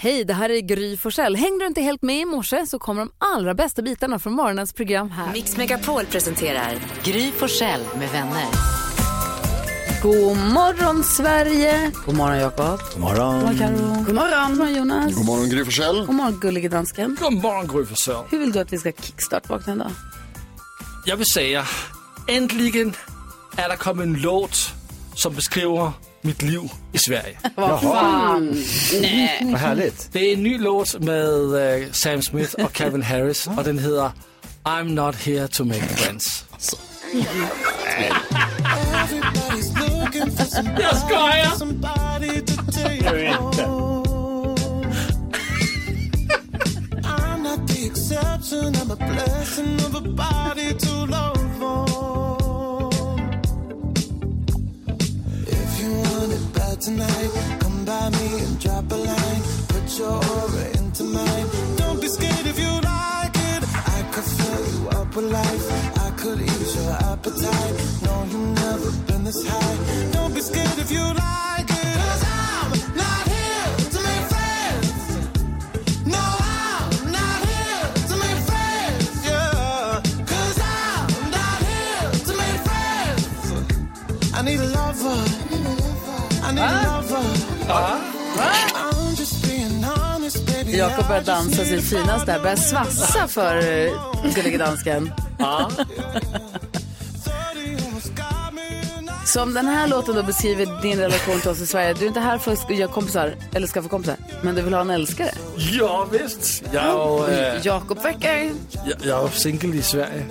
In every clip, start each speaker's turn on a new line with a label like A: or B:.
A: Hej, det här är Gry Forssell. Hängde du inte helt med i morse så kommer de allra bästa bitarna från morgonens program här.
B: Mix Megapol presenterar Gry Forssell med vänner.
A: God morgon Sverige!
C: God morgon Jakob.
D: God morgon.
A: God morgon. God morgon Jonas.
D: God morgon Gry Forssell.
A: God morgon gullige dansken.
E: God morgon Gry Forssell.
A: Hur vill du att vi ska kickstart-vakna idag?
E: Jag vill säga, äntligen är det kommit en låt som beskriver mitt liv i Sverige.
C: Vad fan. Nej.
D: Vad härligt.
E: Det är en ny låt med eh, Sam Smith och Calvin Harris och den heter I'm not here to make friends. Jag skojar!
F: I need a lover. I need a lover. I'm just being honest, baby.
C: Jakob börjar dansa sin finaste där. Börjar svassa för eh, gullige dansken. Så om den här låten då beskriver din relation till oss i Sverige. Du är inte här för att göra kompisar eller skaffa kompisar. Men du vill ha en älskare.
E: Ja, visst. Jag, eh,
C: Jakob verkar...
E: jag, jag är singel i Sverige.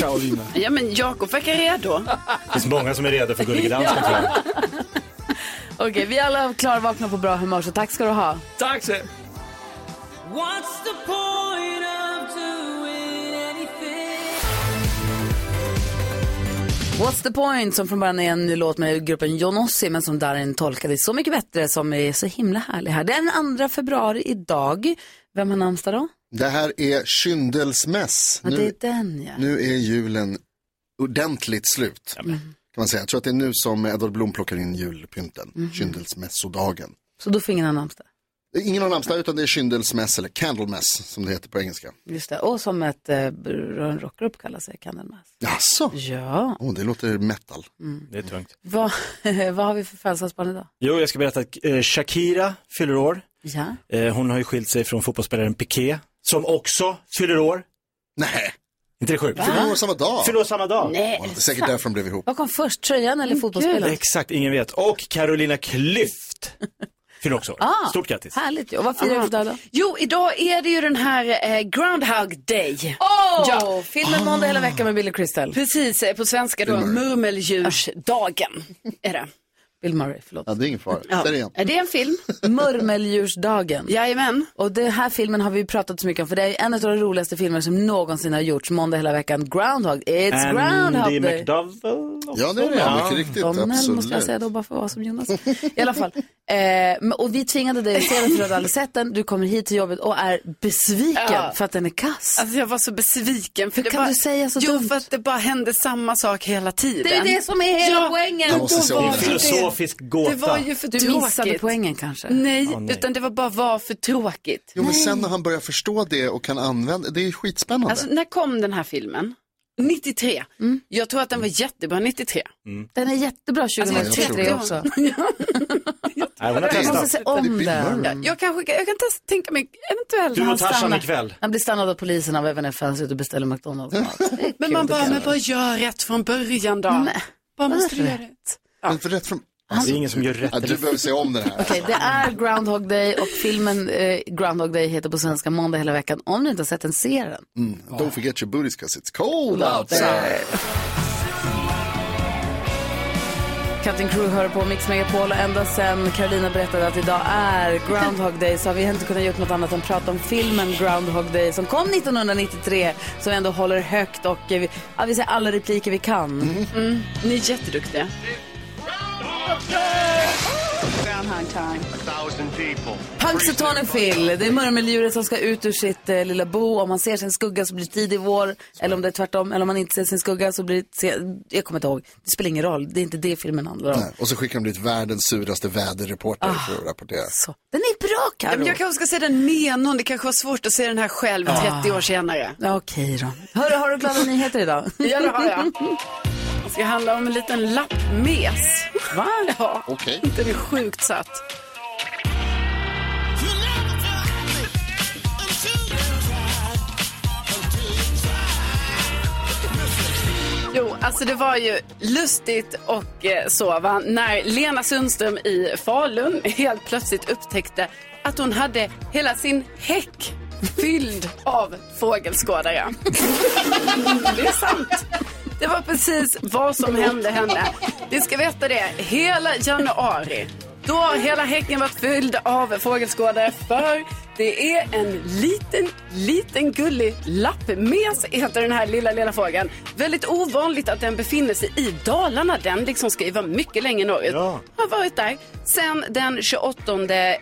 E: Karolina.
C: Ja men Jakob verkar redo.
D: Det finns många som är redo för Gullige Dansken tror jag.
C: Okej, vi är alla klarvakna på bra humör så tack ska du ha.
E: Tack Sam.
C: What's the point som från början är en ny låt med gruppen Jonossi men som Darin tolkade så mycket bättre som är så himla härlig här. Det är den 2 februari idag. Vem har namnsdag då?
G: Det här är kyndelsmäss.
C: Ja, det är
G: Nu,
C: den ja.
G: nu är julen ordentligt slut. Kan man säga. Jag tror att det är nu som Edvard Blom plockar in julpynten.
C: Mhm.
G: Kyndelsmässodagen.
C: Så då får ingen ha namnsdag.
G: Det är ingen har namnsdag utan det är kyndelsmäss eller candlemäss som det heter på engelska.
C: Just det, och som ett eh, rockgrupp kallar sig Candlemass.
G: Jaså?
C: Ja,
G: Åh, det låter metal.
D: Det är tungt.
C: vad, vad har vi för födelsedagsbarn idag?
H: Jo, jag ska berätta att eh, Shakira fyller år.
C: Ja,
H: Eh, hon har ju skilt sig från fotbollsspelaren Piqué, som också fyller år.
G: Nej,
H: inte det sjukt?
G: fyller år samma dag.
H: Fyller år samma dag.
G: Ja, det är säkert därför de blev ihop.
C: vad kom först, tröjan eller fotbollsspelaren?
H: Exakt, ingen vet. Och Carolina Klüft fyller också år.
I: Ah.
H: Stort grattis.
C: Härligt ju. och vad firar vi för dag då?
I: Jo, idag är det ju den här eh, Groundhog Day.
C: Åh! Ja. Filmen Måndag hela veckan med Billy Crystal.
I: Precis, eh, på svenska då, murmeldjursdagen är det.
C: Bill Murray, förlåt.
G: Ja, det är ingen fara. Där är jag.
I: Är det en film?
C: Murmeldjursdagen.
I: Jajamän.
C: Och den här filmen har vi ju pratat så mycket om för det är ju en av de roligaste filmer som någonsin har gjorts. Måndag hela veckan, Groundhog. It's
H: Andy
C: Groundhog Day.
H: McDowell också.
G: Ja, det är det. Mycket riktigt.
C: Donald
G: absolut.
C: måste jag säga då bara för att vara som Jonas. I alla fall. Eh, men- och vi tvingade dig att se den för du hade aldrig sett den. Du kommer hit till jobbet och är besviken
I: Ja.
C: för att den är kass.
I: Alltså jag var så besviken. För
C: Hur
I: det
C: kan
I: bara...
C: du säga så
I: Jo,
C: dumt?
I: för att det bara hände samma sak hela tiden.
C: det är ju det som är hela
I: Ja.
C: poängen.
G: Jag måste se om
H: Det är en
G: det.
H: filosofisk gåta.
I: Det var ju för
C: Du
I: tråkigt.
C: missade Mm. poängen kanske.
I: Nej,
H: Ja, nej.
I: utan det var bara var för tråkigt.
G: Jo, men sen när han börjar förstå det och kan använda det, är skitspännande.
I: Alltså, när kom den här filmen? 93.
C: Mm.
I: Jag tror att den var jättebra 93.
C: Den är jättebra 2033
G: jag
I: tror
C: också.
I: det.
H: Nej, hon har
G: Jag
C: Jag måste
H: testat.
C: se
G: Det är
C: om
G: Bill
C: den.
G: Murray.
I: Ja, Jag, kanske, jag kan testa, tänka mig eventuellt
H: Mm. Du
I: han
H: och Tarzan
I: stannar.
H: ikväll.
C: Han blir stannad av polisen av även FNs ute och beställer McDonalds.
I: Men man bara, men bara gör rätt från början då. Bara måste du göra rätt.
G: Men för rätt från...
H: Det är ingen som gör rätt.
G: Ja, du
H: eller-
G: behöver se om den här.
C: Okej, det är Groundhog Day och filmen eh, Groundhog Day heter på svenska måndag hela veckan. Om du inte har sett den, se den.
G: Don't forget your booties cause it's cold out there.
C: Cutting Crew hör på Mix Megapol och ända sen Carolina berättade att idag är Groundhog Day så har vi inte kunnat göra något annat än prata om filmen Groundhog Day som kom 1993 som vi ändå håller högt och eh, vi, ja, vi säger alla repliker vi kan.
I: Ni är jätteduktiga.
J: Groundhog time. A thousand people.
C: Punxsutawn är Phil. Det är murmeldjuret som ska ut ur sitt eh, lilla bo. Om man ser sin skugga så blir det tidig vår. Eller om det är tvärtom. Eller om man inte ser sin skugga så blir det... Se... Jag kommer inte ihåg. Det spelar ingen roll. Det är inte det filmen handlar om.
G: Nej. Och så skickar de dit världens suraste väderreporter
C: Ah,
G: för att rapportera. Så.
C: Den är bra,
I: Ja, men
C: Carro.
I: jag kanske ska se den med någon. Det kanske var svårt att se den här själv
C: Ja.
I: 30 år senare.
C: Okej då. Hörru, har du glada nyheter idag?
I: Ja, det har jag. Det ska handla om en liten lappmes.
C: Va?
I: Ja. Den är sjukt söt. Jo, alltså det var ju lustigt och eh, så va, när Lena Sundström i Falun helt plötsligt upptäckte att hon hade hela sin häck fylld av fågelskådare. det är sant. Det var precis vad som hände henne. Ni ska veta det, hela januari. Då har hela häcken varit fylld av fågelskådare för det är en liten, liten gullig lappmes heter den här lilla, lilla fågeln. Väldigt ovanligt att den befinner sig i Dalarna. Den liksom ska ju vara mycket längre norrut. Har varit där sen den 28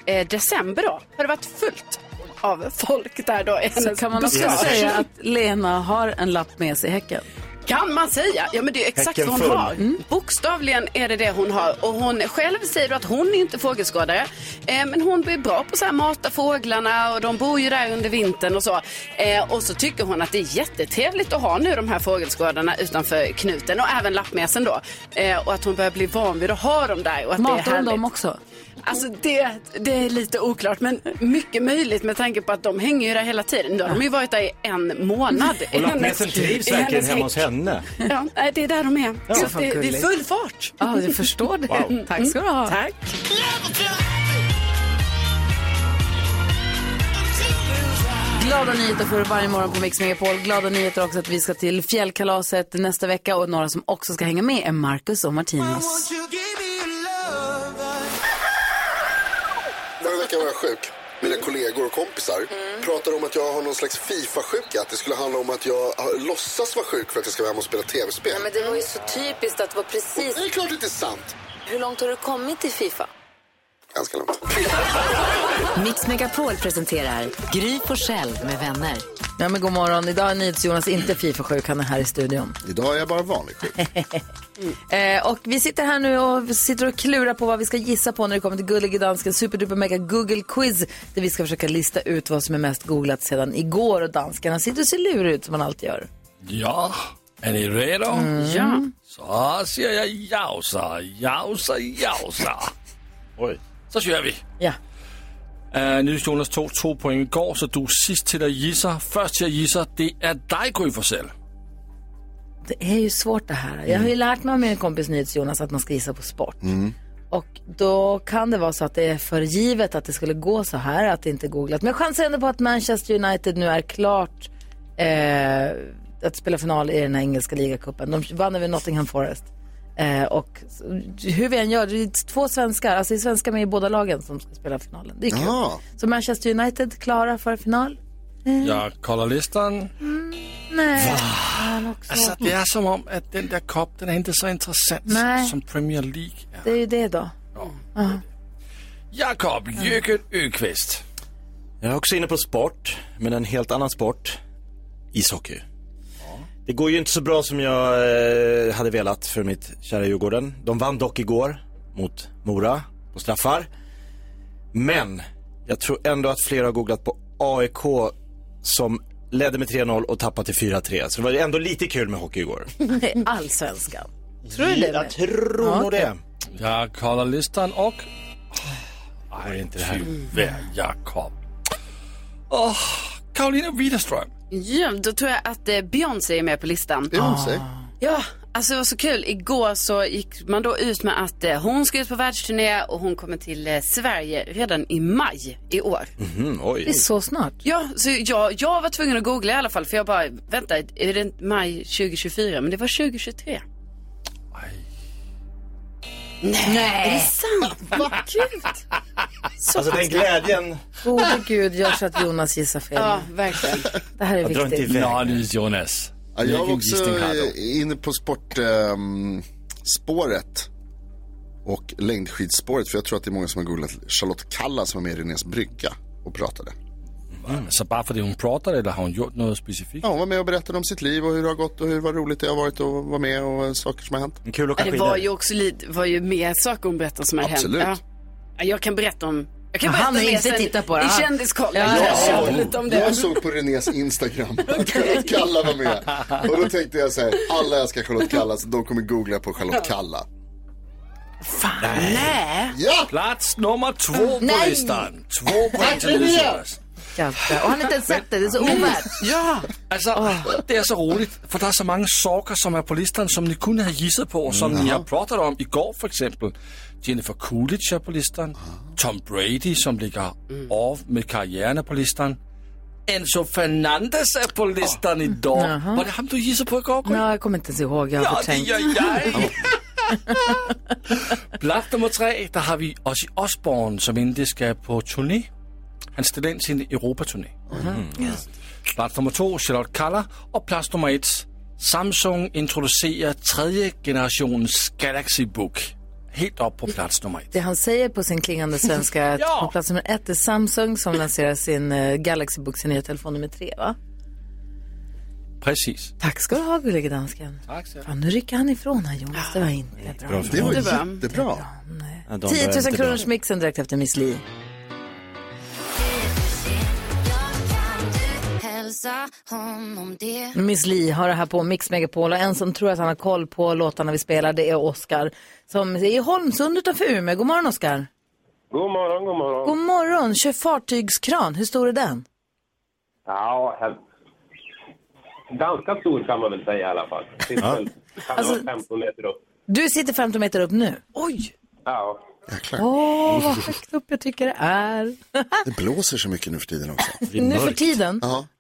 I: eh, december då. Har det varit fullt av folk där då. i
C: Så
I: hennes
C: kan man också
I: buskage.
C: säga att Lena har en lapp med sig i häcken.
I: Kan man säga. Ja, men det är exakt
C: Häcken
I: vad hon
C: full.
I: har.
H: Mm.
I: Bokstavligen är det det hon har. Och hon själv säger att hon är inte fågelskådare. Eh, men hon blir bra på att mata fåglarna och de bor ju där under vintern och så. Eh, och så tycker hon att det är jättetrevligt att ha nu de här fågelskådarna utanför knuten och även lappmesen då. Eh, och att hon börjar bli van vid att ha dem där och att det är
C: Matar hon
I: härligt.
C: dem också?
I: Alltså det, det är lite oklart men mycket möjligt med tanke på att de hänger ju där hela tiden. De har de ju varit där i en månad. i
H: Och
I: hennes-
H: lappnäsen trivs
I: i
H: verkligen
I: hennes
H: hemma
I: häck.
H: hos henne.
I: Ja, nej, det är där de är.
H: Ja,
I: Så
H: fan
I: det, det är
H: gulligt.
I: full fart.
C: Ja, jag förstår det.
H: Wow.
C: Tack ska du ha. Tack. Glada nyheter får du varje morgon på Mix Megapol. Glada nyheter också att vi ska till fjällkalaset nästa vecka och några som också ska hänga med är Marcus och Martinus.
G: Förra veckan var jag sjuk. Mina kollegor och kompisar
C: Mm.
G: pratade om att jag har någon slags Fifa-sjuka. Att det skulle handla om att jag har- låtsas vara sjuk för att jag ska vara hemma och spela tv-spel.
A: Men det var ju så typiskt att vara precis...
G: Det är klart inte är sant.
A: Hur långt har du kommit i Fifa?
G: Ganska långt.
B: Mix Megapol presenterar Gry Forssell med vänner.
C: Ja, men god morgon. Idag är NyhetsJonas inte Fifa-sjuk. Han är här i studion.
G: Idag är jag bara vanlig sjuk.
C: Eh, och vi sitter här nu och sitter och klurar på vad vi ska gissa på när det kommer till Gullige Dansken superduper mega Google quiz. Där vi ska försöka lista ut vad som är mest googlat sedan igår och danskarna sitter och ser lurig ut som man alltid gör.
E: Ja, är ni redo?
C: Mm. Ja.
E: Så säger jag jausa, jausa, jausa. Oj. Så kör vi.
C: Ja.
E: Uh, Nils Jonas tog två poäng igår, så du är sist till att gissa. Först till att gissa, det är dig Gry Forssell.
C: Det är ju svårt det här. Jag har
E: Mm.
C: ju lärt mig av min kompis NyhetsJonas att man ska gissa på sport. Och då kan det vara så att det är för givet att det skulle gå så här, att det inte är googlat. Men jag chansar ändå på att Manchester United nu är klart eh, att spela final i den här engelska ligacupen. De vann över Nottingham Forest. Eh, och s- hur vi än gör, det är två svenskar, alltså det är svenskar med i båda lagen som ska spela finalen. Det är kul.
E: Jaha.
C: Så Manchester United klara för final?
E: Jag kollar listan.
C: Nej.
E: Va?
C: Fan också.
E: Alltså, det är som om att den där kopp, den är inte så intressant
C: Nej.
E: som Premier League.
C: Det är ju det då. Ja.
E: Jakob Jöken Öqvist.
H: Jag är också inne på sport, men en helt annan sport. Ishockey. Det går ju inte så bra som jag eh, hade velat för mitt kära Djurgården. De vann dock igår mot Mora på straffar. Men jag tror ändå att flera har googlat på AIK som ledde med 3-0 och tappade till 4-3. Så det var ändå lite kul med hockey igår.
C: Det är allsvenskan.
E: Mm.
C: Tror du det?
H: Jag tror
C: Ja,
H: nog
C: okej.
H: det.
E: Jag kollar listan och... Nej, inte det här.
C: Mm.
E: Tyvärr, Jakob. Åh, Karolina Widerström.
I: Ja, då tror jag att eh, Beyoncé är med på listan.
E: Beyoncé?
I: Ah. Ja, alltså det var så kul. Igår så gick man då ut med att eh, hon ska ut på världsturné och hon kommer till eh, Sverige redan i maj i år.
H: Mhm, oj.
C: Det är så snart.
I: Ja, så jag, jag var tvungen att googla i alla fall för jag bara, vänta, är det inte maj 2024? Men det var 2023. Nej. Är det sant? Vad kul! Så
H: Alltså den
I: pass.
H: glädjen.
C: Gode gud gör så att Jonas gissar fel.
I: Ja, verkligen.
C: Det här är
H: Jag drar inte
C: viktigt.
H: iväg.
E: Ja, Nils Jonas.
G: Ja, jag var
E: Vilken
G: också
E: gissning hade du?
G: eh, inne på sportspåret. ehm, och längdskidspåret. För jag tror att det är många som har googlat Charlotte Kalla som var med i Renés brygga och pratade.
E: Mm, Så bara för att hon pratar eller har hon gjort något specifikt?
G: Ja, hon var med och berättade om sitt liv och hur det har gått och hur vad roligt det har varit att vara med och saker som har hänt.
H: Kul
I: Ja, Det var ju också lite, var ju mer saker hon berättade som har hänt.
G: Absolut.
I: Ja. Ja, jag kan berätta om jag kan
C: Men
I: berätta
C: han har
I: mer
C: inte
I: sen
C: tittat på det,
I: I
C: han-
I: Kändiskollen.
C: Ja,
I: jag
C: ja,
I: känner
G: Ja,
I: lite om det.
G: Jag såg på Renés Instagram att Charlotte Kalla var med. Och då tänkte jag så här, alla älskar Charlotte Kalla så de kommer googla på Charlotte Kalla.
I: Nej.
G: Ja.
E: Plats nummer två på
C: Nej.
E: listan. Två poäng till
C: Tack, Linnea.
E: Jonas.
C: Katta. Och han har inte ens sett det, det är så ovärt.
E: Ja, alltså det är så roligt för det är så många saker som är på listan som ni kunde ha gissat på och som ni har pratat om igår för exempel. Jennifer Coolidge är på listan, Tom Brady som ligger av med karriären är på listan. Enzo Fernandez är på listan idag. Var det han du gissade på igår? Gry?
C: Ja, jag kommer inte ens ihåg, jag har
E: Ja, det
C: förträngt.
E: gör jag. Plats nummer tre, där har vi Ozzy Osbourne som inte ska på turné. Han ställer in sin Europaturné. Plats nummer två, Charlotte Kalla. Och plats nummer ett, Samsung introducerar tredje generationens Galaxy Book. Helt upp på plats nummer ett.
C: Det han säger på sin klingande svenska är att
E: Ja.
C: på plats nummer ett är Samsung som lanserar sin eh, Galaxy Book, sin nya telefon nummer tre, va?
E: Precis.
C: Tack ska du ha, gullige dansken.
E: Tack så
C: Fan, nu rycker han ifrån här, Jonas. Det var inte bra.
G: Det var
I: Det var-
G: jättebra.
C: 10 000 kronors mixen direkt efter Miss Li. Miss Li har det här på Mix Megapol och en som tror att han har koll på låtarna vi spelar det är Oskar som är i Holmsund utanför Umeå. God morgon Oskar!
K: God morgon, god morgon.
C: God morgon! Kör fartygskran, hur stor är den?
K: Ja, här... ganska stor kan man väl säga i alla fall. Sitter väl, kan vara 15 meter upp.
C: Alltså, Du sitter 15 meter upp nu. Oj!
K: Ja.
G: Jäklar.
C: Åh, vad högt upp jag tycker det är.
G: Det blåser så mycket nu för tiden också.
C: nu för tiden?
G: Ja,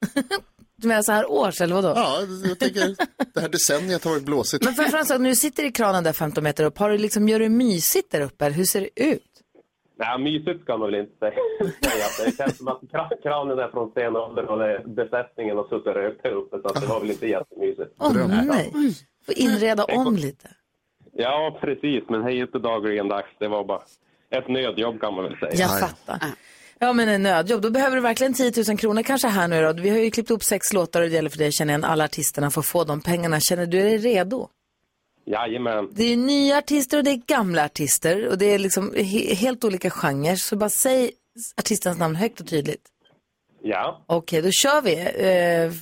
C: Du menar så här års eller vadå?
G: ja jag tänker det här decenniet har varit blåsigt.
C: Men framförallt så, när du sitter i kranen där 15 meter upp, har du liksom, gör du mysigt där uppe? eller Hur ser det ut?
K: Nej, mysigt kan man väl inte säga. säga. Det känns som att kra- kranen är från sen ålder och det, besättningen har suttit och rökt här uppe så att det var väl inte jättemysigt.
C: Åh nej, får inreda om lite.
K: Ja, precis. Men det är ju inte dagligen dags. Det var bara ett nödjobb kan man väl säga.
C: Jag fattar. Ja men en nödjobb, då behöver du verkligen 10 000 kronor kanske här nu då. Vi har ju klippt upp sex låtar och det gäller för dig att känna igen alla artisterna för att få de pengarna. Känner du dig redo?
K: Jajamän.
C: Det är ju nya artister och det är gamla artister och det är liksom he- helt olika genrer. Så bara säg artistens namn högt och tydligt.
K: Ja.
C: Okej, då kör vi. Eh,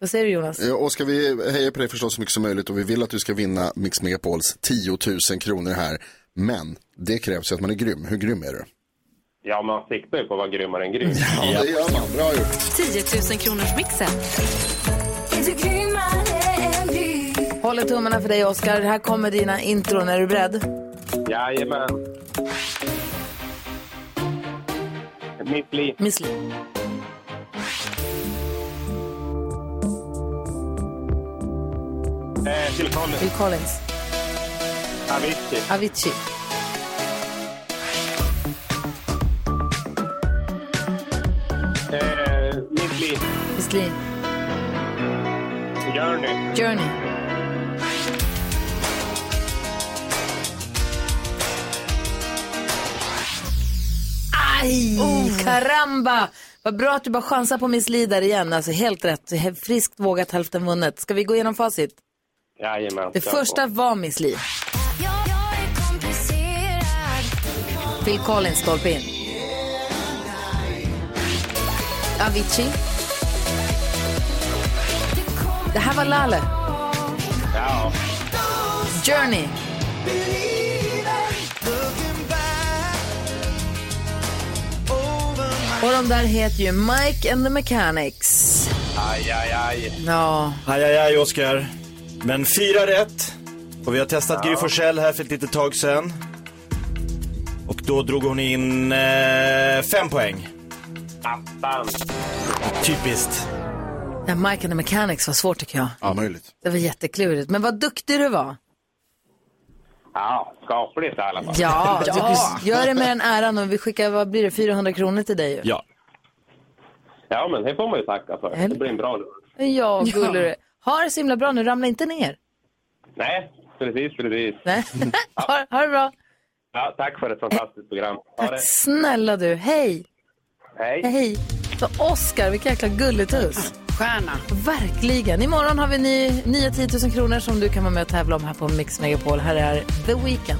C: vad säger du Jonas?
G: Eh, Oskar, vi hejar på dig förstås så mycket som möjligt och vi vill att du ska vinna Mix Megapols 10 000 kronor här. Men det krävs ju att man är grym. Hur grym är du?
K: Ja, man siktar ju på att vara grymmare än grym.
G: Ja, det gör man. Bra gjort.
B: 10 000 kronors mixen.
C: Håller tummarna för dig Oskar. Här kommer dina intron. Är du beredd?
K: Jajamän. Mitt liv.
C: Miss Li.
K: Eh, Phil Collins.
C: Phil Collins.
K: Avicii.
C: Avicii.
K: Eh, mitt liv.
C: Miss Li.
K: Journey.
C: Journey. Aj! Oh, Karamba! Vad bra att du bara chansar på Miss Li där igen. Alltså helt rätt. He- Friskt vågat, hälften vunnet. Ska vi gå igenom facit?
K: Jajamän.
C: Det första var Miss Li. Phil Collins, stolpe in. Avicii. Det här var Laleh.
K: Ja.
C: Journey. Och de där heter ju Mike and the Mechanics.
K: Aj, aj, aj.
C: Ja,
H: Aj, aj, aj, Oskar. Men fyra rätt. Och vi har testat Gry Forssell här för ett litet tag sedan. Och då drog hon in eh, fem poäng.
K: Attan.
H: Typiskt.
C: det här Mike and the Mechanics var svårt tycker jag.
G: Omöjligt.
C: Det var jätteklurigt. Men vad duktig du var.
K: Ja, skapligt i alla fall.
C: Ja, Du, gör det med den äran och vi skickar, vad blir det, 400 kronor till dig ju.
H: Ja.
K: Ja, men det får man ju tacka för. Det blir en bra lunch.
C: Ja, gullig du. Ha det så himla bra nu, ramla inte ner.
K: Nej, precis, precis.
C: Nej. ha, ha det bra.
K: Ja, tack för ett fantastiskt program. Ha det.
C: Snälla du, hej!
K: Hej.
C: Hej! Så Oscar, vilken jäkla gulletuss.
I: Stjärna.
C: Verkligen. Imorgon har vi ny, nya 10 000 kronor som du kan vara med och tävla om här på Mix Megapol. Här är The Weeknd.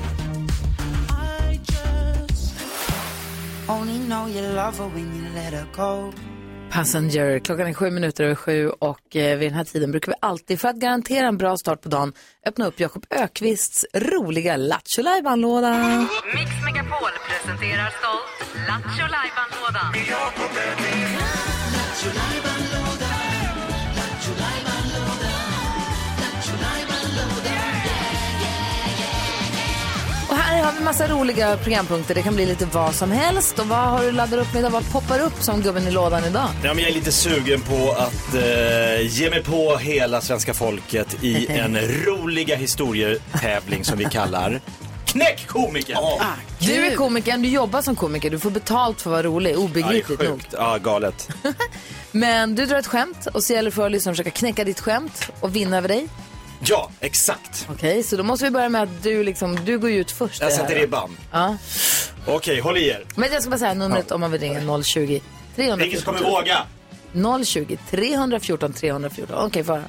L: Only know you love her when you let her go.
C: Passenger. Klockan är sju minuter över sju och eh, vid den här tiden brukar vi alltid, för att garantera en bra start på dagen, öppna upp Jakob Ökvists roliga Lattjo låda
B: Mix Megapol presenterar stolt Lattjo Lajban-lådan.
C: Och här har vi massa roliga programpunkter. Det kan bli lite vad som helst. Och vad har du laddat upp med idag? Vad poppar upp som gubben i lådan idag?
H: Ja, men jag är lite sugen på att eh, ge mig på hela svenska folket i en roliga historietävling som vi kallar Knäck komikern!
C: Ah, Du är komikern, du jobbar som komiker. Du får betalt för att vara rolig, obegripligt nog.
H: Sjukt, ja galet.
C: Men du drar ett skämt och så gäller det för lyssnaren att försöka knäcka ditt skämt och vinna över dig.
H: Ja, exakt.
C: Okej, så då måste vi börja med att du, liksom, du går ju ut först. i
H: Jag
C: det här
H: sätter
C: då.
H: ribban.
C: Ja.
H: Okej, håll i er.
C: Men jag ska bara säga numret om man vill ringa 020 314
H: Ingen som kommer våga.
C: 020 314 314. Okej, okay,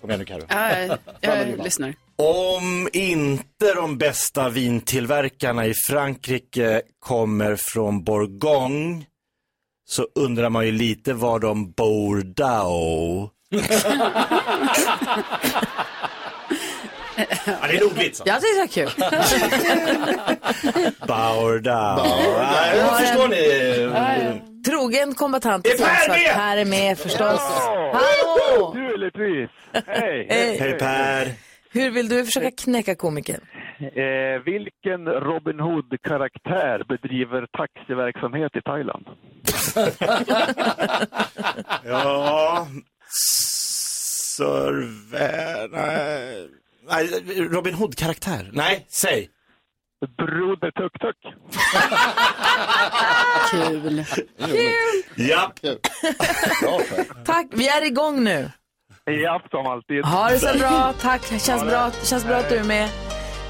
H: Kom igen nu Carro.
I: Ja, jag- jag lyssnar.
H: Om inte de bästa vintillverkarna i Frankrike kommer från Bourgogne så undrar man ju lite var de Bordeaux. ja, det är en ordvits.
C: Jag tyckte det var kul.
H: Bordeaux. Ja, jag förstår ni?
C: Trogen kombatant.
F: Är Per
C: Sundsvall.
F: med?
C: Per är med förstås.
F: Hallå! Naturligtvis. Hej!
C: Hej.
M: Hej,
H: Per!
C: Hur vill du försöka knäcka komikern?
M: Eh, vilken Robin Hood-karaktär bedriver taxiverksamhet i Thailand?
H: Ja, server... Nej. Nej, Robin Hood-karaktär. Nej, säg.
M: Broder Tuk-Tuk.
I: Kul.
H: Kul! Japp.
C: Tack, vi är igång nu.
M: Japp, som alltid.
C: Ha det så bra, tack. Känns bra, känns bra att du är med.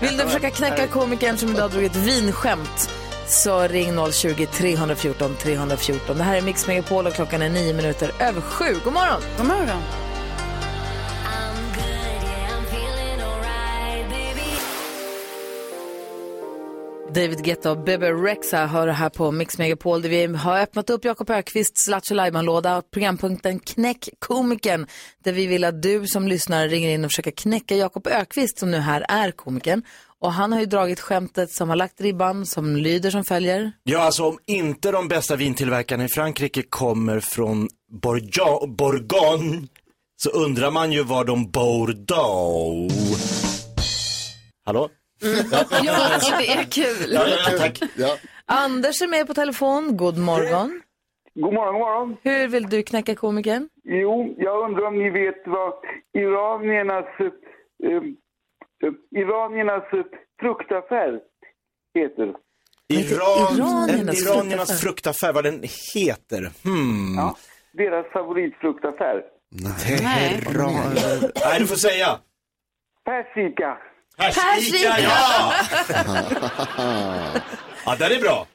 C: Vill du försöka knäcka komikern som idag drog ett vinskämt så ring 020-314 314. Det här är Mix Megapol och klockan är nio minuter över sju. God morgon!
I: God morgon!
C: David Guetta och Bebe Rexha hör det här på Mix Megapol där vi har öppnat upp Jakob Ökvists Lattjo Lajban-låda, programpunkten Knäck komikern, där vi vill att du som lyssnare ringer in och försöker knäcka Jakob Ökvist som nu här är komikern. Och han har ju dragit skämtet som har lagt ribban, som lyder som följer.
H: Ja, alltså om inte de bästa vintillverkarna i Frankrike kommer från Borgia- Bourgogne så undrar man ju var de Bordeaux. Hallå?
I: Ja, alltså det är kul.
H: Ja, ja, ja, tack.
C: Anders är med på telefon, god morgon.
N: God morgon, god morgon.
C: Hur vill du knäcka komikern?
N: Jo, jag undrar om ni vet vad iraniernas, eh, eh, iraniernas eh, fruktaffär heter?
H: Iran,
N: iraniernas
H: iraniernas, iraniernas
N: fruktaffär.
H: fruktaffär, vad den heter. Hmm.
N: Deras favoritfruktaffär?
H: Teheran. Nej, du får säga.
N: Persika.
C: Persika, ja!
H: Ja, den är bra.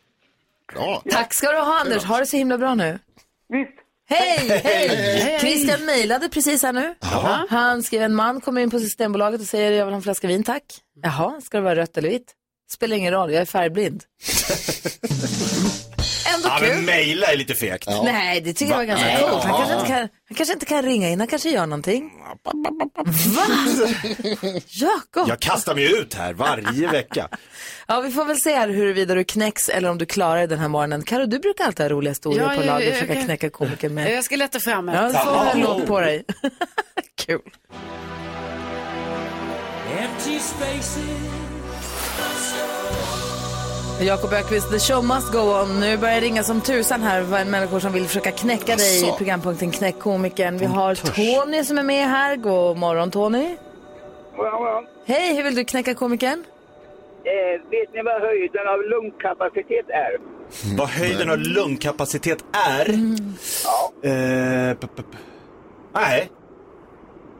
H: Bra.
C: Tack ska du ha Anders, ha det så himla bra nu.
N: Visst.
C: Hej, hej!
F: Hej.
C: Christian mejlade precis här nu.
F: Jaha.
C: Han skrev en man kommer in på Systembolaget och säger jag vill ha en flaska vin tack. Jaha, ska det vara rött eller vitt? Spelar ingen roll, jag är färgblind. Ändå
H: Ja,
C: kul.
H: men mejla är lite fegt.
C: Nej, det tycker jag var
H: Va?
C: ganska
H: Nej.
C: coolt. Han,
H: Ja.
C: kanske inte kan, han kanske inte kan ringa in, han kanske gör någonting. Va? Jakob?
H: Jag kastar mig ut här varje vecka.
C: Ja, vi får väl se här huruvida du knäcks eller om du klarar dig den här morgonen. Karo, du brukar alltid ha roliga historier
I: Ja,
C: på
I: ja,
C: lager
I: ja,
C: och försöka
I: jag-
C: knäcka komiker med.
I: Jag ska leta fram ett.
C: Ja, du får ha en låt på dig. Kul.
F: Empty spaces.
C: Jakob Ökvist, the show must go on. Nu börjar det ringa som tusan här, vad människor som vill försöka knäcka dig i
I: Alltså.
F: Asså.
C: programpunkten Knäck komikern. Vi har Tony som är med här. God morgon Tony. Hej, hur vill du knäcka komikern?
O: Eh, vet ni vad höjden av lungkapacitet är?
H: Vad höjden av lungkapacitet är?
G: Mm.
H: Eh, p- p- p- nej.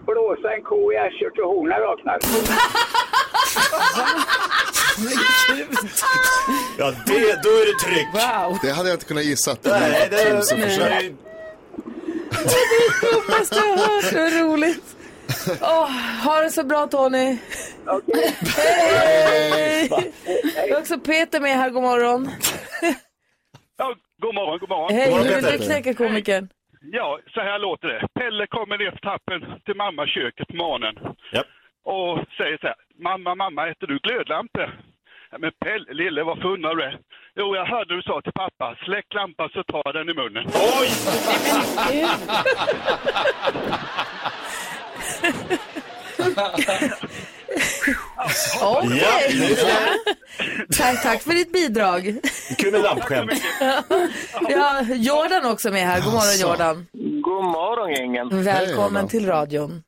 O: Blåsa en ko i arslet och honan raknar.
H: Ja, det, då är det tryck.
G: Det hade jag inte kunnat gissa.
H: Nej, det-
G: Tusen
H: nej.
G: försök.
C: Dummaste jag har hört, så roligt. Åh, ha det så bra Tony. Hej! Vi har också Peter med här, god morgon.
M: Ja, god morgon, god morgon.
C: Hej, hur vill du knäcka komikern?
M: Ja, så här låter det. Pelle kommer ner för trappen till mamma köket på morgonen. Och säger så här, mamma, mamma, äter du glödlampor? "Ja, Men Pelle, lille, varför undrar du det? Jo, jag hörde du sa till pappa, släck lampan så tar jag den i munnen. Oj!
C: Okej.
F: Ja, nu
C: tack, tack för ditt bidrag.
H: Kul med lampskämt.
C: Ja, Jordan också med här, god morgon Jordan.
P: God morgon gängen.
C: Välkommen till radion.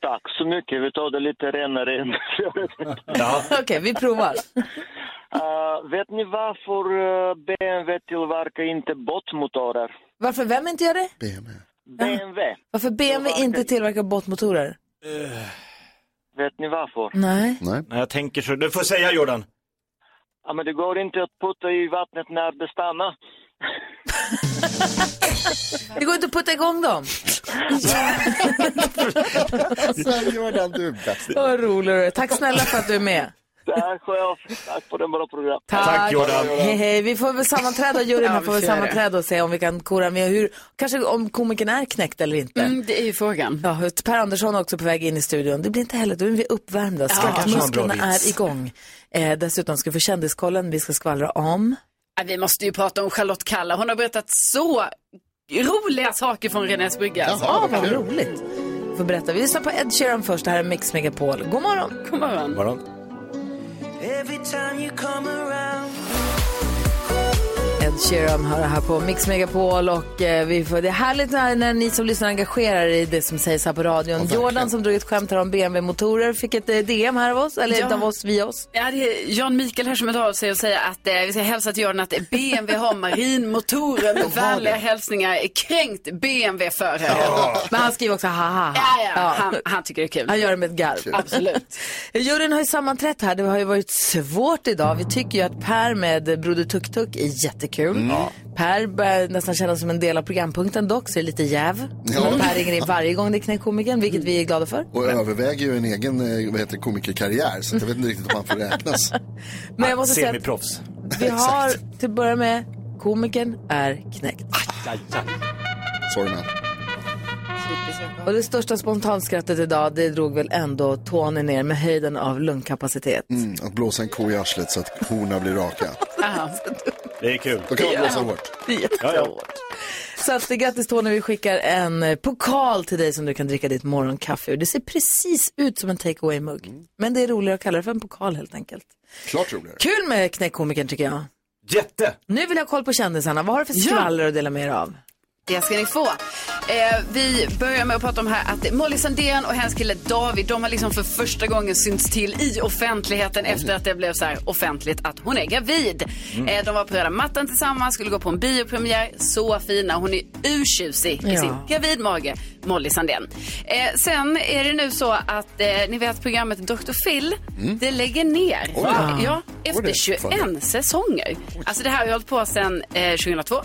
P: Tack så mycket. Vi tar det lite renare än ja.
C: Okej, vi provar.
P: Vet ni varför eh, BMW tillverkar inte båtmotorer?
C: Varför vem inte gör det?
P: BMW.
C: Varför BMW inte tillverkar båtmotorer?
P: Vet ni varför?
C: Nej.
H: Nej. jag tänker så. Du får säga Jordan.
P: Ja, men det går inte att putta i vattnet när det stannar.
C: Det går inte att putta igång dem.
G: Sen Alltså, Jordan, du är bäst.
C: Vad rolig du är. Tack snälla för att du är med.
P: Tack själv. Tack för den bra program.
C: Tack. Hej, hej. Vi får väl sammanträda, juryn här
I: Ja, vi
C: får väl
I: får göra det.
C: sammanträda och se om vi kan kora med hur, kanske om komikern är knäckt eller inte.
I: Mm, det är ju frågan.
C: Ja, Per Andersson är också på väg in i studion. Det blir inte heller, då är vi uppvärmda. Skrattmusklerna är igång. Eh, dessutom ska vi få kändiskollen, vi ska skvallra om.
I: Ja, Vi måste ju prata om Charlotte Kalla. Hon har berättat så roliga saker från Renés brygga. alltså.
C: Ja, vad roligt. Vi får berätta. Vi lyssnar på Ed Sheeran först, det här är Mix Megapol. God morgon.
I: God morgon.
F: Every time you come around
C: Ed Sheeran hör här på Mix Megapol och eh, vi får, det är härligt när, när ni som lyssnar engagerar er i det som sägs här på radion. Jordan som drog ett skämt här om BMW-motorer fick ett eh, DM här av oss, eller
I: Ja.
C: av oss, via oss.
I: Ja, det är Jan Mikael här som är av sig och säger att eh, vi ska hälsa till Jordan att BMW har marinmotorer med vänliga hälsningar. Kränkt BMW-förare.
C: Men han skriver också ha ha ha.
I: Ja, ja, han- tycker det är kul.
C: Han gör det med ett garv.
I: Absolut.
C: Juryn har ju sammanträtt här. Det har ju varit svårt idag. Vi tycker ju att Per med Broder Tuk Tuk är jättekul.
I: Mm.
C: Per börjar nästan kännas som en del av programpunkten dock, så det är lite jäv.
G: Ja.
C: Men Per ringer in varje gång det är knäckkomikern, vilket vi är glada för.
G: Och överväger ju en egen eh, vad heter, det, komikerkarriär, så att jag vet inte riktigt om han får räknas.
C: Men jag måste säga att-
H: Semiproffs.
C: Vi har till att börja med, komikern är knäckt.
G: Sorry man.
C: Och det största spontanskrattet idag, det drog väl ändå Tony ner med höjden av lungkapacitet.
G: Mm, att blåsa en ko i arslet så att korna blir raka.
H: Det är kul.
G: Då kan man blåsa hårt.
C: Det är jättehårt. Så att, eh, grattis Tony, vi skickar en eh, pokal till dig som du kan dricka ditt morgonkaffe ur. Det ser precis ut som en takeaway mugg Men det är roligare att kalla det för en pokal helt enkelt.
G: Klart roligare.
C: Kul med knäckkomikern tycker jag.
H: Jätte!
C: Nu vill jag ha koll på kändisarna. Vad har du för skvaller att dela med er av?
I: Det ska ni få. Eh, vi börjar med att prata om här att Molly Sandén och hennes kille David, de har liksom för första gången synts till i offentligheten efter att det blev så här offentligt att hon är gravid.
Q: Mm.
I: Eh, de var på röda mattan tillsammans, skulle gå på en biopremiär. Så fina. Hon är urtjusig i
Q: Ja.
I: sin gravid mage, Molly Sandén. Eh, sen är det nu så att eh, ni vet programmet Dr. Phil, det lägger ner.
Q: Mm. Oj.
I: Ja,
Q: Var
I: efter
Q: det
I: 21
Q: fan?
I: säsonger. Alltså det här har ju hållit på sedan eh, 2002.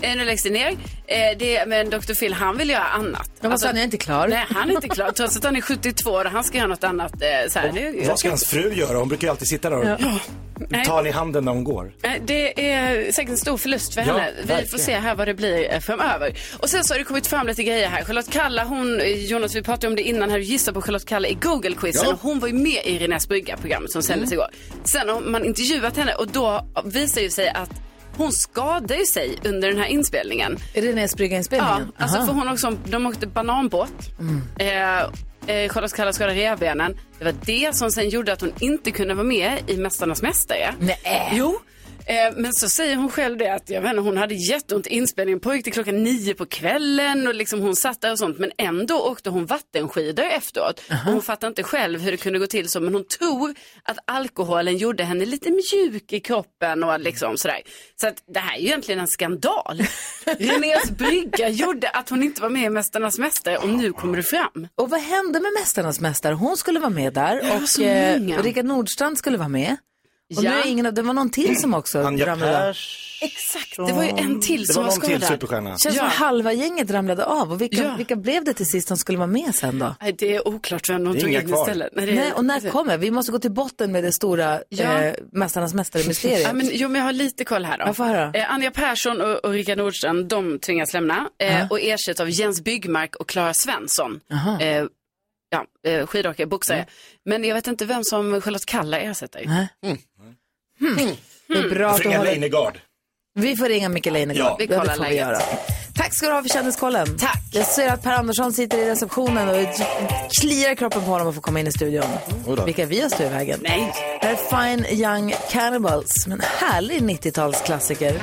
I: Eh, nu läggs det ner. Eh, det, men Dr. Phil, han vill göra annat. Alltså,
C: Ja, vad sa han? Jag är inte klar.
I: Nej, han är inte klar. Trots att han är 72 och han ska göra något annat. Eh, så här. Det,
H: Vad ska hans fru göra? Hon brukar ju alltid sitta där och
I: Ja.
H: ta han i handen när hon går.
I: Nej, Det är säkert en stor förlust för
H: Ja,
I: henne. Vi får
H: verkligen.
I: se här vad det blir eh, framöver. Och sen så har det kommit fram lite grejer här. Charlotte Kalla, hon, eh, Jonas vi pratade om det innan här, du gissade på Charlotte Kalla i Google-quizen.
Q: Ja.
I: Och Hon var ju med i Renés brygga-programmet som sändes
Q: Mm.
I: igår. Sen har man intervjuat henne och då visar ju sig att hon skadade ju sig under den här inspelningen.
C: Är det Näsbrygga-inspelningen?
I: Ja, alltså för hon också, de åkte bananbåt. Eh, eh, Charlotte Kalla skadade revbenen. Det var det som sen gjorde att hon inte kunde vara med i Mästarnas mästare.
C: Nej.
I: Jo. Eh, Men så säger hon själv det att jag vet inte, hon hade jätteont i inspelningen pågick till klockan nio på kvällen och liksom hon satt där och sånt men ändå åkte hon vattenskidor efteråt. Och hon fattar inte själv hur det kunde gå till så men hon tror att alkoholen gjorde henne lite mjuk i kroppen och liksom sådär. Så att det här är ju egentligen en skandal. Renés brygga gjorde att hon inte var med i Mästarnas mästare och nu kommer det fram.
C: Och vad hände med Mästarnas mästare? Hon skulle vara med där
I: Ja,
C: och
I: så många.
C: Rickard Nordstrand skulle vara med. Och nu är ingen av, det var någon till som också
H: Anja
C: ramlade av.
I: Exakt, det var ju en till
H: Det
I: som
H: var någon till
I: skadad.
H: superstjärna.
C: Känns som halva gänget ramlade av. Och vilka, vilka blev det till sist som skulle vara med sen då?
I: Nej, det är oklart vem de
C: Det är
I: tog
C: inga
I: in
C: kvar.
I: istället.
C: Nej, och när kommer? Vi måste gå till botten med det stora
I: alltså- Ja.
C: eh, Mästarnas mästare-mysteriet.
I: Ja, men, jo, men jag har lite koll här då.
C: Jag får höra.
I: Eh, Anja Persson och, och Rickard Nordström, de tvingas lämna eh,
C: Ja.
I: och ersätts av Jens Byggmark och Klara Svensson.
C: Aha.
I: Eh, ja, eh, skidåkare, boxare. Men jag vet inte vem som Charlotte Kalla ersätter.
C: Nej. Äh? Mm.
I: Mm.
C: Det är bra
H: Jag
C: att
H: fick
C: du
H: en
C: håller...
H: Leinegard.
C: Vi får ringa Micke Leijnegard.
H: Ja. Vi
C: det
H: kollar
C: får vi
H: läget.
C: göra. Tack ska du ha för kändiskollen. Tack. Jag ser att Per Andersson sitter i receptionen och kliar i kroppen på honom att få komma in i studion.
H: Oj då.
C: Vilka vi har stått i vägen.
I: Nej.
C: Det här är Fine Young Cannibals, men härlig 90-talsklassiker.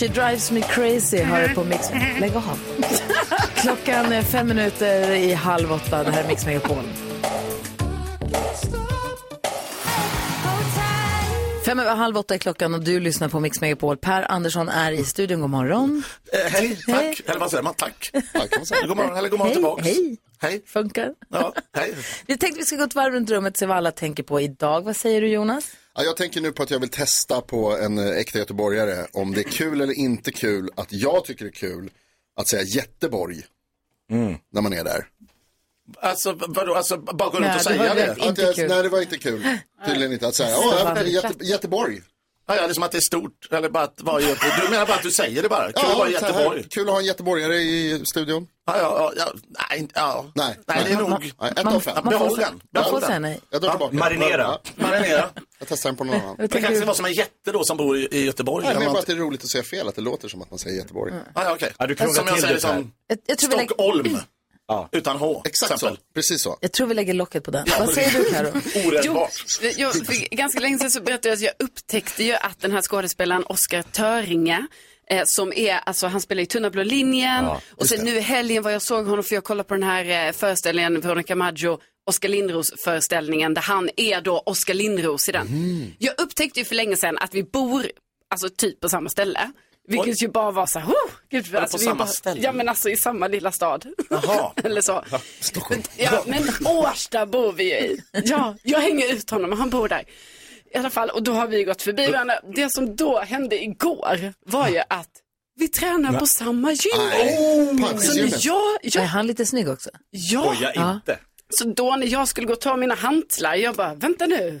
C: She drives me crazy har du på Mix... Lägg av. Klockan är fem minuter i halv åtta. Det här är Mix Megapol. Fem över halv åtta är klockan och du lyssnar på Mix Megapol. Per Andersson är i studion. God morgon.
Q: Eh, hej, tack. Eller vad säger man? Tack. tack kan man säga. God morgon, eller god morgon
C: Hej,
Q: tillbaks.
C: hej.
Q: Hej.
C: Funkar?
Q: Ja, hej.
C: Vi tänkte vi ska gå ett varv runt rummet och se vad alla tänker på idag. Vad säger du Jonas?
G: Ja, jag tänker nu på att jag vill testa på en eh, äkta göteborgare om det är kul eller inte kul att jag tycker det är kul att säga Göteborg
Q: Mm.
G: när man är där.
Q: Alltså, vadå, alltså bara gå runt
G: Nej,
Q: och
G: det
Q: säga
G: var
Q: det?
G: rätt inte Att jag- kul. nej, det var inte kul. Tydligen inte att säga, "Åh, jag- Göte- Göteborg.
Q: Ja, ja, det är som att det är stort, eller bara att vara i Göteborg. Du menar bara att du säger det bara? Kul att vara i
G: så här,
Q: Göteborg.
G: kul att ha en göteborgare i studion.
Q: Ja, ja, ja, ja, nej, ja.
G: Nej,
Q: Nej, det är nog...
G: Nej, ett av fem.
Q: Behåll den.
G: Ja,
Q: Behåll
G: den.
Q: den.
G: Jag drar
Q: Ja,
G: tillbaka.
Q: Marinera. Marinera.
G: Jag testar den på någon annan.
Q: Det kanske ska vara som en jätte då som bor i i Göteborg.
G: Nej, men
Q: eller
G: bara
Q: något.
G: att det är roligt att säga fel, att det låter som att man säger Göteborg.
Q: Ja, ja, okej.
G: du krånglar
Q: Som jag
G: till
Q: säger
G: det
Q: som
G: här.
C: Jag, jag, tror vi lägger,
Q: Stockholm. Utan H.
G: Exakt så, precis så.
C: jag tror vi lägger locket på den.
G: Ja,
C: vad säger du Karo?
I: Jo, jag, för ganska länge sedan så berättade jag att jag upptäckte ju att den här skådespelaren Oscar Töringe Eh, som är, alltså han spelar i Tunna blå linjen
R: Ja,
I: och sen nu i helgen var jag såg honom för jag kollade på den här eh, föreställningen, Veronica Maggio, Oskar Lindros föreställningen där han är då Oskar Lindros i den. Jag upptäckte ju för länge sedan att vi bor, alltså typ på samma ställe. Vilket ju bara var så här, oh, gud,
Q: det
I: alltså,
Q: på
I: vi är
Q: samma
I: bara,
Q: ställe?
I: Ja men alltså i samma lilla stad. Eller så. Ja, men Årsta bor vi ju i. Ja, jag hänger ut honom och han bor där. I alla fall, och då har vi gått förbi varandra. Det som då hände igår var ju att vi tränar på samma gym.
C: Nej,
I: Oh, så när jag,
C: Är
I: jag,
C: han lite snygg också?
I: ja, så då när jag skulle gå och ta mina hantlar, jag bara, vänta nu.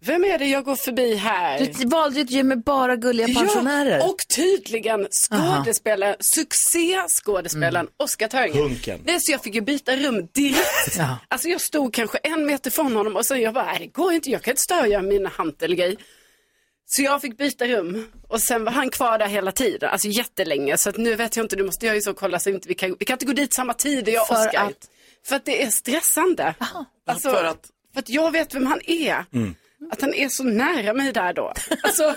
I: Vem är det jag går förbi här?
C: Du valde ju ett gym med bara gulliga pensionärer.
I: Ja, och tydligen skådespelaren, succéskådespelaren
C: Mm.
I: Oscar Törngren.
C: Hunken.
I: Nej, så jag fick ju byta rum direkt.
C: Ja.
I: Alltså jag stod kanske en meter från honom och sen jag bara, "Nej, det går inte, jag kan inte störa mina hantelgrej. Så jag fick byta rum och sen var han kvar där hela tiden, alltså jättelänge. Så att nu vet jag inte, nu måste jag ju så kolla så inte vi kan, vi kan inte gå dit samma tid jag och
C: För
I: Oscar.
C: att?
I: För att det är stressande. Alltså, för, att... Mm. för att jag vet vem han är. Att han är så nära mig där då. Alltså,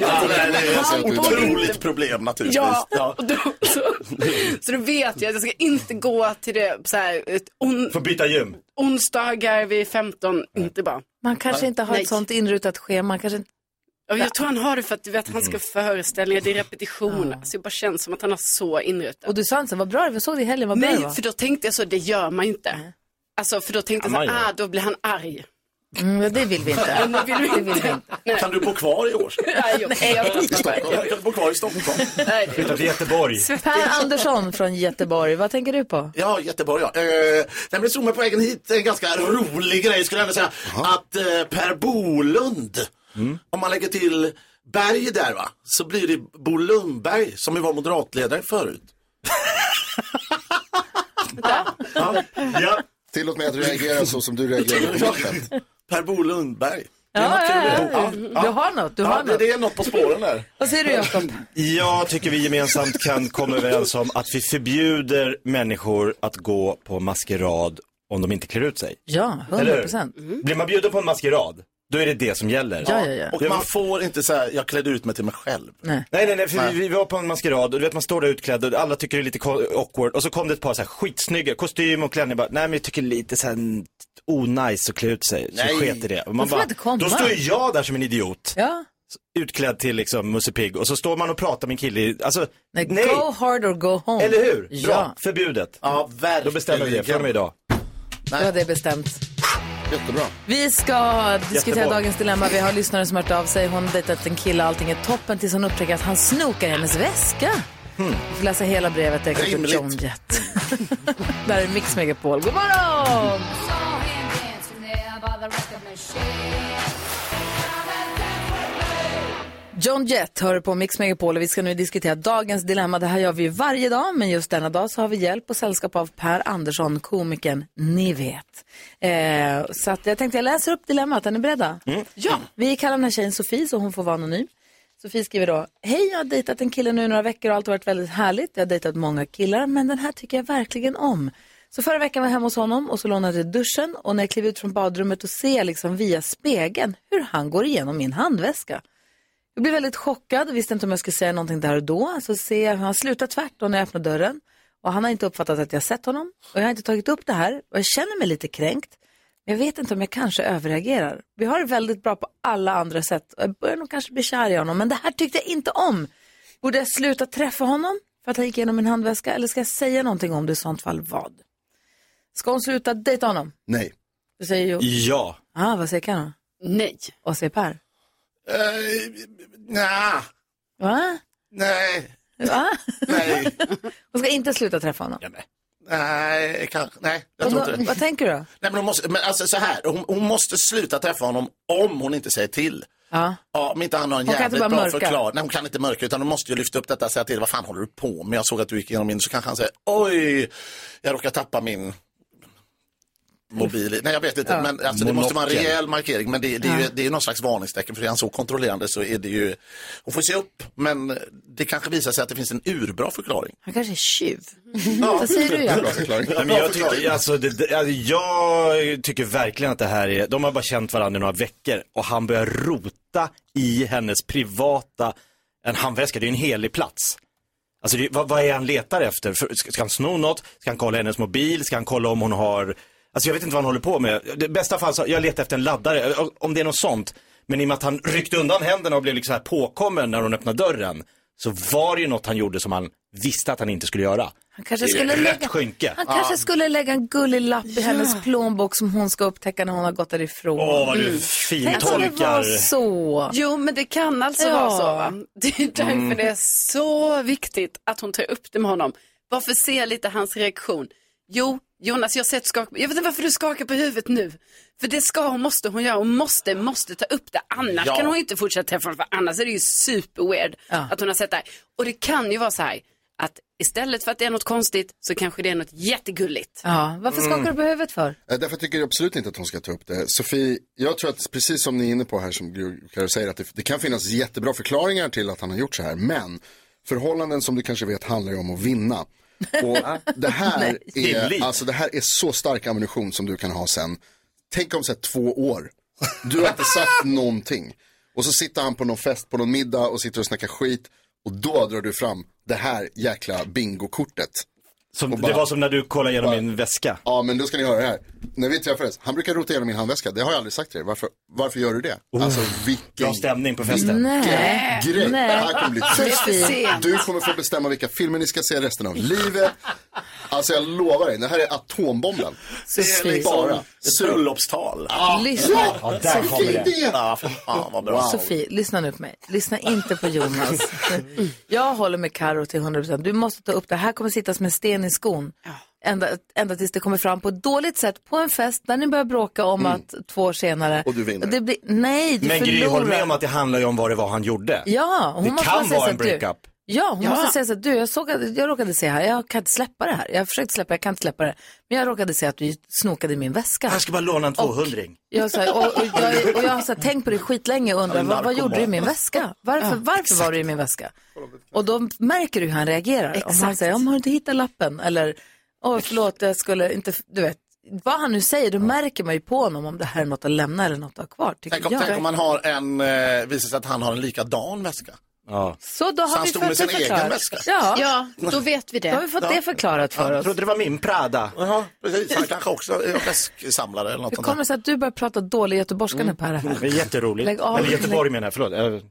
Q: Ja, det är
I: Han
Q: ett
I: bor
Q: otroligt problem naturligtvis.
I: Ja, och då, så, så då vet jag att jag ska inte gå till det så här, ett on,
H: Får byta gym.
I: onsdagar vid 15, inte bara.
C: Man kanske inte har ett sånt inrutat schema. Man kanske inte...
I: Ja, Jag tror han har det för att du vet, han
C: Mm.
I: ska föreställningar, det är repetition. Så jag bara känns som att han har så inrutat.
C: Och du sa inte så, vad bra det var, såg det i helgen, vad bra
I: Nej,
C: det var.
I: för då tänkte jag så, det gör man inte. Alltså, för då tänkte jag
C: Ja,
I: så
C: man
I: här,
C: gör.
I: ah, då blir han arg.
C: Mm, men det vill vi inte.
I: Men det vill vi inte.
Q: Kan du bo kvar i år?
I: Nej, jag-
Q: I Stockholm. Jag kan bo kvar i Stockholm.
H: Flytta till Göteborg.
C: Per Andersson från Göteborg, vad tänker du på?
Q: Ja, Göteborg ja. Eh, nej, men jag såg mig på vägen hit en ganska rolig grej skulle jag ändå säga. Att eh, Per Bolund, om man lägger till Berg där va, så blir det Bo Lundberg som ju var moderatledare förut. ja. Ja.
G: Tillåt mig att reagera så som du reagerade på mitt
Q: Per Bo Lundberg. Det är
C: Ja,
Q: något kul.
C: ja, ja. Du har något, du
Q: ja,
C: har
Q: det,
C: något.
Q: det är något på spåren där.
C: Vad säger du Jakob?
H: Jag tycker vi gemensamt kan komma överens om att vi förbjuder människor att gå på maskerad om de inte klär ut sig.
C: Ja, 100
H: Eller
C: procent.
H: hur? Blir man bjuden på en maskerad, då är det det som gäller.
C: Ja, ja, ja.
Q: Och man får inte säga, jag klädde ut mig till mig själv.
C: Nej.
H: Nej, nej, nej, för vi, vi var på en maskerad och du vet man står där utklädd och alla tycker det är lite ko- awkward och så kom det ett par så här skitsnygga, kostym och klänning bara, nej men jag tycker lite så här n- onajs att klä ut sig, så
Q: Nej.
H: sket i det. Och
Q: Då får man inte komma.
H: då står ju jag där som en idiot,
C: Ja.
H: utklädd till liksom Musse Pigg och så står man och pratar med en kille, i- alltså, nej.
C: Go hard or go home.
H: Eller hur? Bra,
C: Ja,
H: förbjudet.
Q: Ja, verkligen.
H: Då bestämmer vi det från och med idag.
C: det var det bestämt.
G: Jättebra.
C: Vi ska diskutera
G: Jättebra.
C: dagens dilemma. Vi har lyssnare som hört av sig. Hon har dejtat en kille allting är toppen tills hon upptäcker att han snokar i hennes väska. Vi får läsa hela brevet direkt från
F: Rimligt.
C: John Jett. Där är Mix Megapol. God morgon! John Jett hör på Mix Megapol och vi ska nu diskutera dagens dilemma. Det här gör vi ju varje dag, men just denna dag så har vi hjälp och sällskap av Per Andersson, komikern ni vet. Eh, så att jag tänkte jag läser upp dilemmat, är ni beredda? Ja, vi kallar den här tjejen Sofie så hon får vara anonym. Sofie skriver då, hej jag har dejtat en kille nu i några veckor och allt har varit väldigt härligt. Jag har dejtat många killar men den här tycker jag verkligen om. Så förra veckan var jag hemma hos honom och så lånade jag duschen och när jag klev ut från badrummet och ser liksom via spegeln hur han går igenom min handväska. Jag blev väldigt chockad och visste inte om jag skulle säga någonting där och då. Så ser jag hur han slutar tvärtom när jag öppnar dörren. Och han har inte uppfattat att jag sett honom. Och jag har inte tagit upp det här. Och jag känner mig lite kränkt. Men jag vet inte om jag kanske överreagerar. Vi har det väldigt bra på alla andra sätt. Och Jag börjar nog kanske bli kär i honom. Men det här tyckte jag inte om. Borde jag sluta träffa honom för att han gick igenom min handväska? Eller ska jag säga någonting om det i sånt fall vad? Ska hon sluta dejta honom?
G: Nej.
C: Det säger Jo.
H: Ja.
C: Ah, vad säger Karin?
I: Nej.
C: Vad säger Per?
Q: Eh, Nja.
C: Va?
Q: Nej.
C: Va? Hon ska inte sluta träffa honom?
Q: Nej, kanske. Nej, jag
C: Och
Q: tror
C: då-
Q: inte det.
C: Vad tänker du?
Q: Nej, men hon måste, men alltså så här, hon, hon måste sluta träffa honom om hon inte säger till.
C: Ja.
Q: Ja, om inte han har en
C: Hon kan
Q: jävligt
C: inte bara
Q: bra
C: mörka.
Q: förklaring. Nej, hon kan inte mörka utan hon måste ju lyfta upp detta och säga till. Vad fan håller du på med? Jag såg att du gick igenom min. Så kanske han säger, oj, jag råkar tappa min mobil. Nej, jag vet inte.
G: Ja.
Q: Men alltså, det
G: Monokel.
Q: måste vara en rejäl markering. Men det, det är ju
G: Ja.
Q: det är ju någon slags varningstecken. För är han så kontrollerande så är det ju, hon får se upp. Men det kanske visar sig att det finns en urbra förklaring.
C: Han kanske är tjuv.
Q: Ja.
C: Vad säger du, Jakob?
H: Nej, men jag, tycker, alltså, det, det, alltså, jag tycker verkligen att det här är, de har bara känt varandra i några veckor och han börjar rota i hennes privata, en handväska, det är ju en helig plats. Alltså det, vad, vad är han letar efter? För, ska, ska han sno något? Ska han kolla hennes mobil? Ska han kolla om hon har, alltså jag vet inte vad han håller på med. Det bästa fall så, jag letar efter en laddare, eh, om det är något sånt. Men i och med att han ryckte undan händerna och blev liksom här påkommen när hon öppnade dörren. Så var det ju något han gjorde som han visste att han inte skulle göra.
C: Han kanske
H: Det är
C: skulle
H: rätt
C: lägga,
H: skynke.
C: Han kanske
H: Ja.
C: skulle lägga en gullig lapp i hennes plånbok som hon ska upptäcka när hon har gått därifrån.
H: Åh, vad du
C: Mm. Tänk om det
H: fintolkar.
C: var så.
I: Jo, men det kan alltså
C: Ja.
I: vara så. Va? Det är därför
C: Mm.
I: det är så viktigt att hon tar upp det med honom. Varför se lite hans reaktion? Jo, Jonas, jag har sett skak... Jag vet inte varför du skakar på huvudet nu. För det ska hon, måste hon göra. Hon måste, måste ta upp det. Annars
R: Ja.
I: kan hon inte fortsätta träffa honom. För annars är det ju superweird att hon har sett det här. Och det kan ju vara så här att istället för att det är något konstigt så kanske det är något jättegulligt.
C: Ja, varför skakar
G: Mm.
C: du på huvudet för?
G: Eh, Därför tycker jag absolut inte att hon ska ta upp det. Sofie, jag tror att precis som ni är inne på här som Gry- Karo säger att det, det kan finnas jättebra förklaringar till att han har gjort så här. Men förhållanden som du kanske vet handlar ju om att vinna. Och det här,
F: Nej.
G: är,
F: Tillit.
G: alltså, det här är så stark ammunition som du kan ha sen. Tänk om så här, två år. Du har inte sagt någonting. Och så sitter han på någon fest, på någon middag och sitter och snackar skit. Och då drar du fram det här jäkla bingokortet.
H: Som,
G: Och
H: det
G: bara-
H: var som när du kollade igenom min väska.
G: Ja, men då ska ni höra det här. När vi träffades, han brukar rota igenom min handväska. Det har jag aldrig sagt till er. Varför, varför gör du det? Alltså vilken... Bra
H: stämning på
G: festen.
C: Nej.
G: Grej. Det
C: Nej.
G: här kommer bli
C: Sofie.
G: du kommer få bestämma vilka filmer ni ska se resten av livet. Alltså jag lovar dig, det här är atombomben.
Q: Det är liksom
G: Bara.
Q: ett bröllopstal.
C: Ah, Lyssna.
G: Ja, där kommer
C: Sofie.
G: det.
Q: Ja, för fan vad bra.
C: Sofie, lyssna nu på mig. Lyssna inte på Jonas. Jag håller med Karo till 100%. Du måste ta upp det. Här kommer sitta som en sten i skon. Ända, ända tills det kommer fram på ett dåligt sätt på en fest där ni börjar bråka om att två år senare.
H: Mm. Och du vinner.
C: Det blir, nej, du
H: Men Gry,
C: förlorar.
H: håll med om att det handlar ju om vad det var han gjorde.
C: Ja, hon
H: det
C: måste bara
H: kan
C: säga
H: vara
C: så
H: en
C: att du-
H: breakup.
C: Ja, hon
H: Ja.
C: måste säga så att du, jag, såg att, jag råkade se här, jag kan inte släppa det här. Jag har försökt släppa, jag kan inte släppa det. Men jag råkade se att du snokade i min väska.
H: Han ska bara låna en 200
C: Jag, så här, och, och, jag, och jag har så här, tänkt på det skitlänge och undrar,
H: Ja,
C: vad, vad gjorde du i min
H: narkoman.
C: väska? Varför,
I: Ja,
C: varför var du i min väska? Och då märker du hur han reagerar. Om han
I: Exakt.
C: säger, om har du inte hittat lappen? Eller, åh förlåt, jag skulle inte, du vet. Vad han nu säger, då märker man ju på honom om det här är något att lämna eller något att ha kvar. tycker
Q: Tänk om,
C: jag.
Q: tänk om man har en, eh, visar sig att han har en likadan väska.
H: Ja.
C: Så då
Q: Så
C: har
Q: han
C: vi fått
Q: stod med
C: det
Q: sin egen
C: förklarat.
Q: väska?
C: Ja.
I: Ja, då vet vi det.
C: Då har vi fått det förklarat för
Q: Ja,
C: oss.
Q: trodde
H: det var min Prada.
Q: Jaha, precis. Han kanske också är väsksamlare eller något
C: Hur kommer det sig att du börjar prata dålig göteborgska nu Per? här?
H: Jätteroligt.
C: Lägg av.
H: Eller Göteborg menar jag, förlåt. Eh,
C: I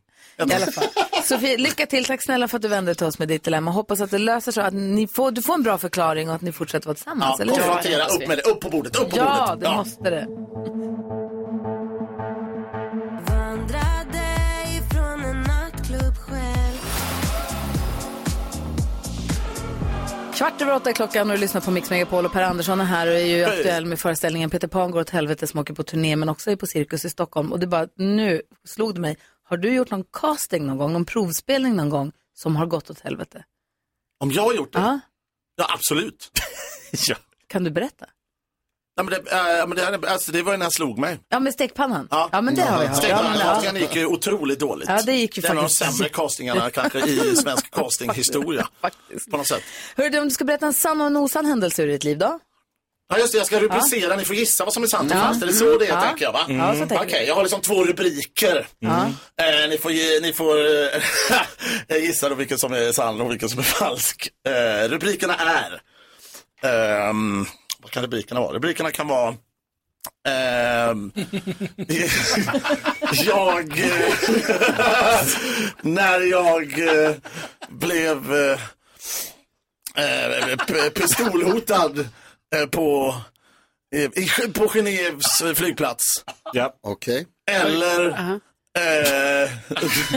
C: alla fall. Sofie, lycka till. Tack snälla för att du vände dig till oss med ditt dilemma. Hoppas att det löser sig och att ni får, du får en bra förklaring och att ni fortsätter vara tillsammans.
Q: Ja,
C: eller hur?
Q: konfrontera, upp med det, upp på bordet, upp på
C: Ja,
Q: bordet.
C: det måste det.
R: Vandrade ifrån en nattklubb själv
C: Kvart över åtta är klockan och du lyssnar på Mix Megapol och Per Andersson är här och är ju
R: Hej.
C: aktuell med föreställningen Peter Pan går åt helvete som åker på turné men också är på Cirkus i Stockholm. Och det är bara, nu slog det mig, har du gjort någon casting någon gång, någon provspelning någon gång som har gått åt helvete?
Q: Om jag har gjort det?
C: Ja.
Q: Ja, absolut.
H: ja.
C: Kan du berätta?
Q: Nej, men det, äh, men det, alltså, det var ju när jag slog mig.
C: Ja, med stekpannan? Ja, men det har jag hört. Ja, men, ja.
Q: Stegvallcastingen gick ju otroligt dåligt.
C: Ja, det gick ju
Q: det är en av de
C: faktiskt-
Q: sämre castingarna kanske i svensk castinghistoria. På något sätt.
C: Hör du, om du ska berätta en sann och en osann händelse ur ditt liv då?
Q: Ja just det, jag ska rubricera, ni får gissa vad som är sant
C: Ja.
Q: och
C: Mm.
Q: falskt. Är det så det är
C: Ja.
Q: tänker jag va?
C: Ja, så tänker
Q: Okej,
C: vi.
Q: jag har liksom två rubriker. Eh, ni får, ge- ni får eh, gissa då vilken som är sann och vilken som är falsk. Eh, rubrikerna är, ehm, vad kan rubrikerna vara? Rubrikerna kan vara ehm, jag, eh, när jag eh, blev eh, eh, p- pistolhotad eh, på, eh, i, på Genèves eh, flygplats.
H: Ja.
G: Okej.
Q: Eller... eh,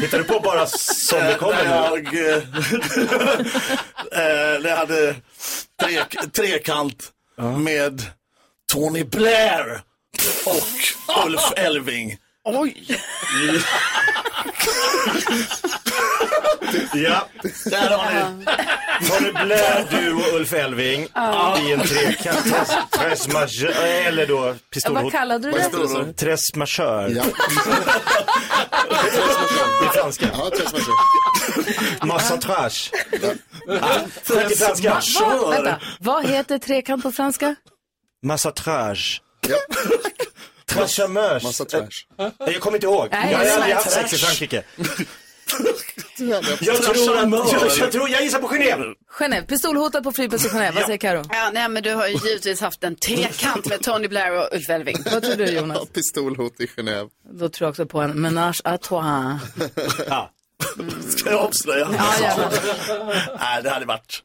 H: Hittar du på bara som det kommer nu?
Q: när Jag, eh, eh, när jag hade tre, trekant med Tony Blair och Ulf Elving.
I: Oj!
H: Ja.
Q: Där har
H: ni. Tony Blair, du och Ulf Elving
C: Ja.
H: i en trekant. Tres- Tres majeure, eller då pistolhot.
C: Vad kallade du det?
H: det? Tres majeure.
G: Ja.
H: I franska.
G: Ja, tres
H: Massa trash. Skit i franska.
C: Va, vänta, vad heter trekant på franska?
H: Massa trash. Trashamörs. Massa
G: trash.
H: Jag kommer inte ihåg.
C: Nej,
H: jag har
C: massa
H: aldrig haft
C: trash.
H: sex i Frankrike.
G: Jag
H: Jag tror att,
Q: Trashamör.
H: jag, jag tror, jag gissar på Genève.
C: Genève, pistolhotad på flygplatsen i Genève. Vad säger Karo?
I: Ja, nej, men du har ju givetvis haft en trekant med Tony Blair och Ulf Elving.
C: Vad tror du Jonas?
G: Pistolhot i Genève.
C: Då tror jag också på en menage à trois.
Q: Ja. Ska jag avslöja?
C: Ja, gärna.
Q: nej, det hade varit...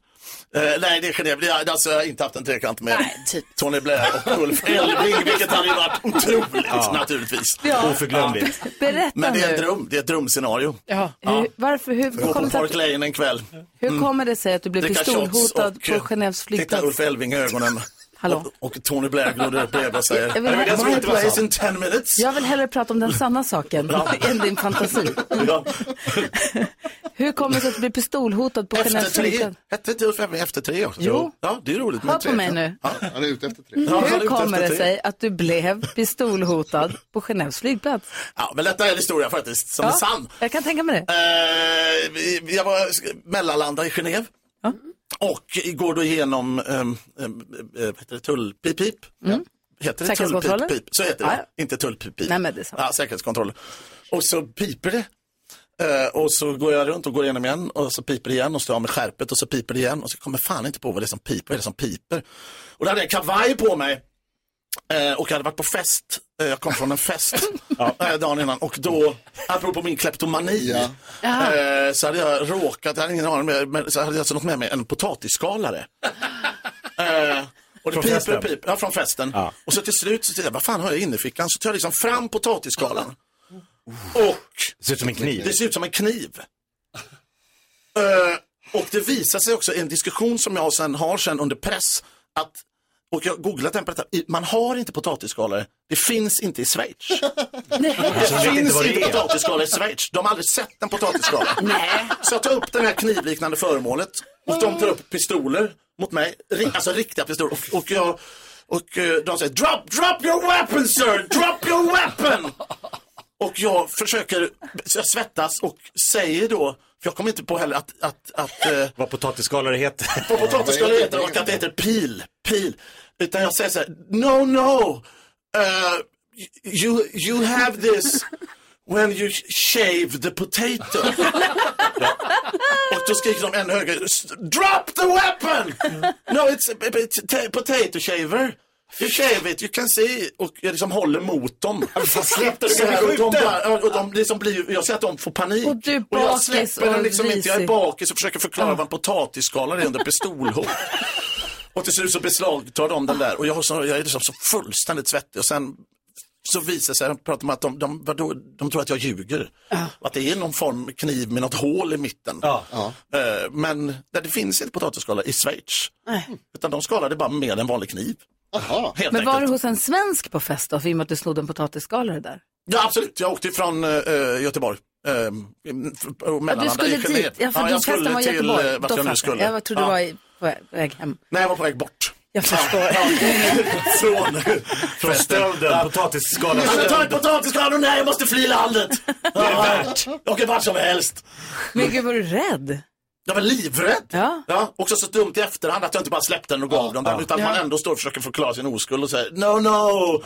Q: Eh, nej, det är Genève. Det är- Alltså, jag har inte haft en trekant med
C: typ.
Q: Tony Blair och Ulf Elving, vilket hade ju varit otroligt
H: Ja.
Q: naturligtvis.
C: Ja.
H: Oförglömligt.
C: Berätta
Q: Men det är, en
C: nu.
Q: dröm, det är ett drömscenario.
C: Ja.
Q: Ja.
C: Hur, varför, hur,
Q: Gå på
C: kommer det,
Q: Park
C: att-
Q: Lane en kväll.
C: hur kommer det sig att du blev
Q: Mm. Dricka shots
C: pistolhotad
Q: och,
C: på
Q: eh,
C: Genèves
Q: Titta
C: flygplats?
Q: Ulf Elving i ögonen.
C: Hallå?
Q: Och, och Tony Blair glodde upp bredvid och säger.
C: Jag vill ha-
Q: My place in ten minutes.
C: Jag vill hellre prata om
Q: Mm.
C: den sanna saken än din fantasi.
Q: Ja.
C: Hur kommer det sig att du blev pistolhotad på
Q: Efter
C: Genèves
Q: tre.
C: flygplats?
Q: Hette inte Ulf Elving efter tre också?
C: Jo.
Q: Ja, det är roligt.
C: Hör på mig nu.
G: Han är ute efter tre.
Q: Ja, han är
C: Hur
Q: ute
C: kommer
Q: efter
C: det
Q: tre.
C: sig att du blev pistolhotad på Genèves flygplats?
Q: Ja, men detta är en historia faktiskt, som
C: Ja,
Q: är sann.
C: Jag kan tänka mig det.
Q: Eh, vi- jag var mellanlandade i Genève. Och går då igenom ehm, ehm, eh, vad heter det, tullpip-pip. Heter det
C: Säkerhetskontroller?
Q: tullpip-pip? Så heter
C: Mm. Ja,
Q: det, inte tullpip-pip.
C: Nej, men det är samma.
Q: ja, säkerhetskontroll. Och så piper det. Eh, och så går jag runt och går igenom igen och så piper det igen och så tar jag av mig skärpet och så piper det igen och så kommer jag fan inte på vad det är som piper. Vad är det som piper? Och då hade jag en kavaj på mig. Eh, och jag hade varit på fest. Eh, jag kom från en fest eh, dagen innan. Och då, apropå min kleptomani, eh, så hade jag råkat, jag hade ingen aning, med, men så hade jag alltså något med mig, en potatisskalare. eh, och det
H: Från
Q: piper
H: festen?
Q: och piper, ja, från festen. Och så till slut så tittar jag, vad fan har jag i innerfickan? Så tar jag liksom fram potatisskalaren. Och
H: Det ser ut som en kniv.
Q: det ser ut som en kniv. Eh, och det visar sig också i en diskussion som jag sen har sen under press att, och jag har googlat den på detta, i- man har inte potatisskalare, det finns inte i Schweiz.
H: Alltså,
Q: Det
H: vet inte
Q: finns
H: vad det
Q: inte
H: är.
Q: potatisskalare i Schweiz, de har aldrig sett en potatisskalare. Så jag tar upp det här knivliknande föremålet och de tar upp pistoler mot mig, Ri- alltså riktiga pistoler. Och, och, jag, och eh, de säger drop, drop your weapon sir, drop your weapon! Och jag försöker, så jag svettas och säger då, för jag kommer inte på heller att, att, att eh,
H: Vad potatisskalare heter.
Q: vad potatisskalare heter och att det heter pil, pil. Utan jag säger så här, no no, eh, you, you have this when you shave the potato. Och då skriker de ännu högre, drop the weapon! No it's a, it's a potato shaver. You shave it, you can see. Och jag liksom håller mot dem.
G: fan, släpp det, du
Q: Så
G: kan
Q: här,
G: bli
Q: och de
G: skjuten.
Q: bara- ja, och de liksom blir, Jag ser att de får panik. Och,
C: du
Q: jag
C: bakis
Q: släpper den
C: och
Q: liksom inte. Jag är
C: risig.
Q: bakis och försöker förklara vad en potatisskala är under pistolhot. och till slut så beslagtar de den där. Och jag, har så, jag är liksom så fullständigt svettig. Och sen så visar det sig, de pratar om att de, de, vadå, de tror att jag ljuger. Och Att det är någon form av kniv med något hål i mitten. Eh, Men där det finns inte potatisskala i Schweiz. Utan de skalade bara med en vanlig kniv. Helt
C: Men var du
Q: enkelt.
C: hos en svensk på fest då, för i och med att du snodde en potatisskalare där?
Q: Ja, absolut. Jag åkte ifrån eh, Göteborg. Eh, och
C: Ja, du
Q: mellanlandade
C: skulle
Q: i Genève.
C: dit, ja, för
Q: ja,
C: din
Q: jag
C: festen
Q: skulle
C: var i
Q: till
C: Göteborg.
Q: eh, vart
C: Då
Q: jag nu
C: fattar
Q: skulle.
C: Jag trodde
Q: ja.
C: du var i- på vä- väg hem.
Q: Nej, jag var på väg bort.
C: Jag förstår.
Q: Från,
H: från stölden, potatisskalan.
Q: Jag tar ett potatisskal och nej, jag måste fly landet. Det är värt. Jag åker vart som helst.
C: Men gud, var du rädd?
Q: Jag var livrädd.
C: Ja.
Q: också så dumt i efterhand att jag inte bara släppte den och gav den den. Utan
C: Ja.
Q: man ändå står och försöker förklara sin oskuld och säger no, no.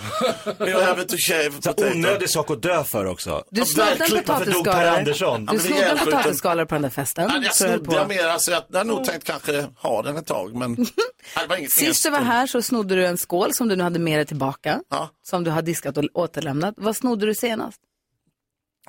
Q: You have to shave potato.
H: Onödig sak att dö för också.
C: Du snodde en potatisskalare. Du snodde en potatisskalare på den där festen.
Q: Nej, jag
C: så du höll på.
Q: snodde jag mer, alltså jag hade nog tänkt kanske ha den ett tag men Nej, det var inget
C: Sist du
Q: inget-
C: var här så snodde du en skål som du nu hade med dig tillbaka. Som du har diskat och återlämnat. Vad snodde du senast?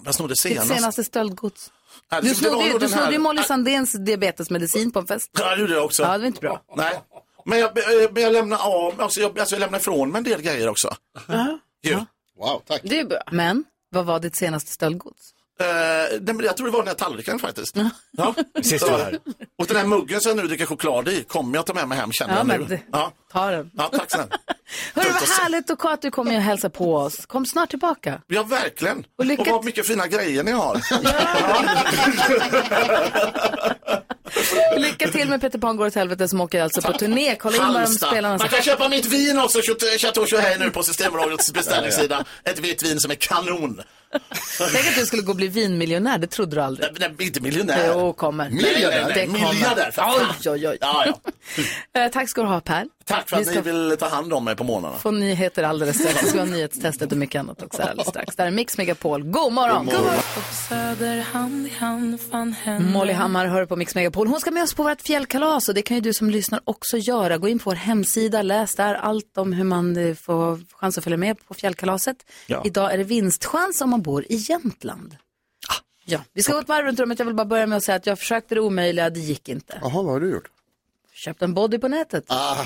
Q: Jag snodde
C: Ditt
Q: senast.
C: senaste stöldgods.
Q: Ja, det-
C: Du
Q: det var
C: snodde ju
Q: nog
C: du
Q: den här-
C: snodde ju Molly Sandéns diabetesmedicin på en fest.
Q: Ja, det gjorde jag också.
C: Ja, det var inte bra.
Q: Nej. Men jag, eh, men jag lämnade av, alltså jag, alltså jag lämnade ifrån mig en del grejer också.
C: Ja.
Q: Ju. Wow, tack.
C: Det är bra. Men, vad var ditt senaste stöldgods?
Q: Eh, nej, men jag tror det var den här tallriken faktiskt. Ja.
H: Sist du var här.
Q: Och den här muggen som jag nu dricker choklad i kommer jag ta med mig hem känner
C: Ja,
Q: jag
C: men
Q: nu.
C: det-
Q: Ja.
C: Ta den.
Q: ja, tack snälla.
C: Hörru, vad härligt och att du kommer och hälsa på oss. Kom snart tillbaka.
Q: Ja, verkligen.
C: Och
Q: Och,
C: lycka
Q: vad mycket fina grejer ni har.
C: Lycka till med Peter Pan går åt helvete som åker alltså på turné. Kolla in vad de
Q: Halmstad.
C: spelarna
Q: Man kan köpa mitt vin också, Chateau- Chateau Chauhay nu på Systembolagets beställningssida. Ett vitt vin som är kanon.
C: Tänk att du skulle gå och bli vinmiljonär, det trodde du aldrig.
Q: Nej, inte miljonär.
C: Jo, kommer.
Q: Miljardär,
C: Det
Q: nej,
C: kommer.
Q: miljardär, för fan.
C: Oj, oj, oj.
Q: Ja,
C: Eh, Tack ska du ha, Per.
Q: Tack för
C: Vi
Q: att
C: ska
Q: ni vill ta hand om mig på morgnarna.
C: få nyheter alldeles strax. Vi ska ha nyhetstestet och mycket annat också alldeles strax. Där är Mix Megapol. God morgon!
B: God morgon.
C: Söder, hand i hand, fan Molly Hammar hör på Mix Megapol. Hon ska med oss på vårt fjällkalas och det kan ju du som lyssnar också göra. Gå in på vår hemsida, läs där allt om hur man eh, får chans att följa med på fjällkalaset.
B: Ja.
C: Idag är det vinstchans om man bor i Jämtland. Ja, vi ska gå ett varv runt rummet. Jag vill bara börja med att säga att jag försökte det omöjliga, det gick inte.
G: Jaha, vad har du gjort?
C: Köpt en body på nätet.
G: Ah.